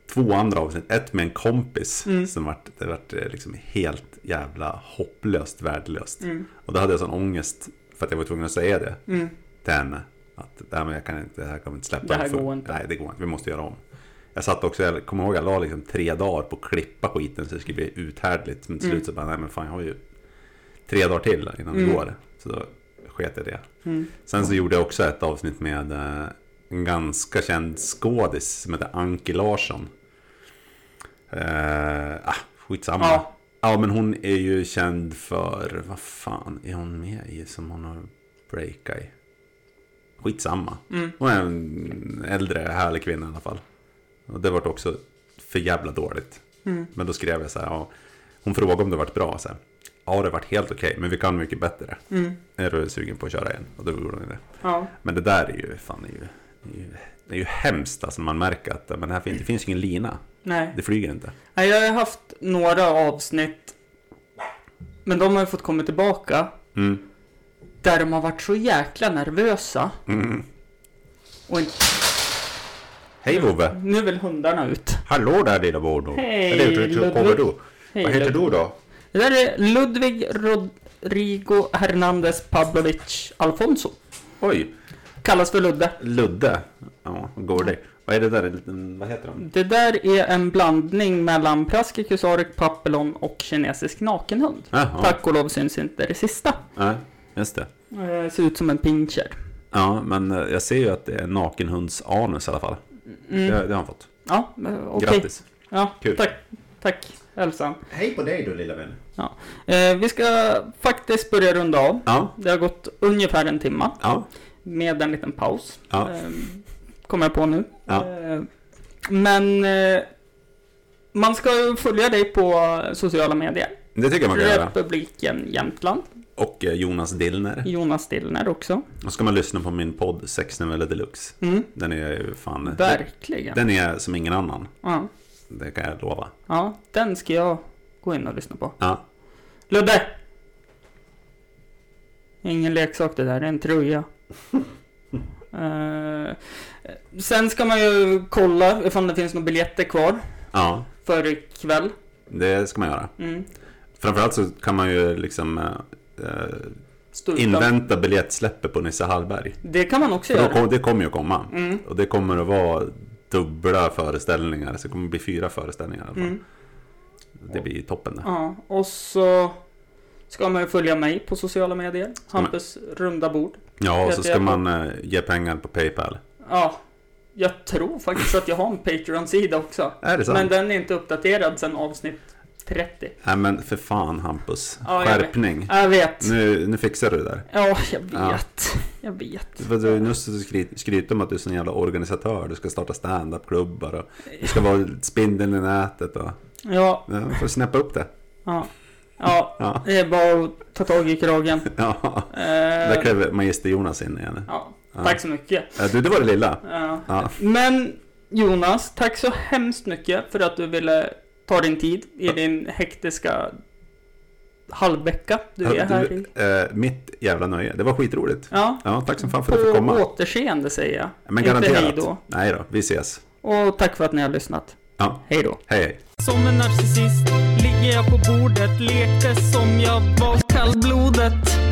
två andra avsnitt, ett med en kompis Mm. som vart, det vart eh, liksom helt jävla hopplöst värdelöst. Och då hade jag sån ångest för att jag var tvungen att säga det Mm. till henne. Att nej, men jag kan inte, det här kan vi inte släppa. Det här För- går inte. Nej, det går inte. Vi måste göra om. Jag satt också, jag kommer ihåg, jag la liksom tre dagar på att klippa skiten så det skulle bli uthärdligt. Men till Mm. slut så bara, nej men fan jag har ju tre dagar till innan det går. Så då sket jag det. Mm. Sen så gjorde jag också ett avsnitt med eh, en ganska känd skådis som heter Anki Larsson. Eh, ah, skitsamma. Ja. Ja. men hon är ju känd för, vad fan är hon med i som hon har breakat i? Skitsamma. Mm. Hon är en äldre härlig kvinna i alla fall. Och det vart också för jävla dåligt. Mm. Men då skrev jag så här, ja, hon frågade om det vart bra. Så här, ja, det vart helt okej, men vi kan mycket bättre. Mm. Är du sugen på att köra igen? Och då gjorde hon det. Ja. Men det där är ju, fan, det är ju, det är ju, det är ju hemskt. Alltså man märker att men här finns, det finns ingen lina. Nej. Det flyger inte. Nej, jag har haft några avsnitt. Men de har ju fått komma tillbaka. Mm. Där de har varit så jäkla nervösa. Mm. Och inte... Hej Vove! Nu vill hundarna ut. Hallå där lilla Bodo! Hej, Eller hur Ludvig. kommer du? Hej, Vad heter Ludvig. du då? Det där är Ludvig Rodrigo Hernández Pavlovic Alfonso. Oj, Kallas för Ludde. Ludde. Ja, Gordy. Vad är det där? En liten- Vad heter de? Det där är en blandning mellan Praskicus aric papillon och kinesisk nakenhund. Jaha. Tack och lov syns inte det sista. Ja, just det. Eh, ser ut som en pincher. Ja, men eh, jag ser ju att det är nakenhunds-anus i alla fall. Mm. Det, det har han fått. Ja, eh, okej. Grattis. Ja, Kul. tack. Tack, hälsan. Hej på dig då, lilla vän. Ja. Eh, vi ska faktiskt börja runda av. Ja, Det har gått ungefär en timma ja, med en liten paus. ja. Eh, kommer jag på nu. Ja. Eh, men eh, man ska ju följa dig på sociala medier. Det tycker jag man kan göra. Republiken Jämtland. Och eh, Jonas Dillner. Jonas Dillner också. Då ska man lyssna på min podd Sexnoveller Deluxe. Mm. Den är ju fan... Verkligen. Den är som ingen annan. Ja. Det kan jag lova. ja, den ska jag gå in och lyssna på. Ja, Ludde! Ingen leksak det där, det är [LAUGHS] en tröja. Eh, sen ska man ju kolla ifall det finns några biljetter kvar ja. för ikväll. Det ska man göra. Mm. Framförallt så kan man ju liksom eh, eh, Stå utan. invänta biljettsläppet på Nisse Hallberg. Det kan man också För då göra. kom, det kommer ju komma. Mm. Och det kommer att vara dubbla föreställningar. Så det kommer bli fyra föreställningar i alla fall. Mm. Det blir toppen det. Ja, och så ska man ju följa mig på sociala medier. man- Hampus runda bord. Ja, och Jag så vet ska jag. man eh, ge pengar på Paypal. Ja, jag tror faktiskt att jag har en Patreon-sida också. Är det sant? Men den är inte uppdaterad sedan avsnitt 30. Nej men för fan Hampus. Ja, jag vet. Skärpning. Jag vet. Nu, nu fixar du det där. Ja, jag Ja. vet. Jag vet. För du nu ska du skry- skryta om att du är sån jävla organisatör. Du ska starta standup-klubbar och du ska vara spindeln i nätet. Och, Ja, ja, får snäppa upp det. ja. Ja, [LAUGHS] Ja, det är bara att ta tag i kragen. ja. Där Eh, klev magister Jonas in igen. ja, Ja. tack så mycket. Eh, Du, det var det lilla. Ja. Ja, Men Jonas, tack så hemskt mycket för att du ville ta din tid i din hektiska halvvecka du är här i. eh, mitt jävla nöje. Det var skitroligt. Ja, Ja, tack som fan för på att du fick komma. återseende säger jag. Men Inte hej garanterat. då. Nej då, vi ses. Och tack för att ni har lyssnat. Ja, Hej då. hej hej. Som en narcissist ligger jag på bordet, lekte som jag var kallblodet.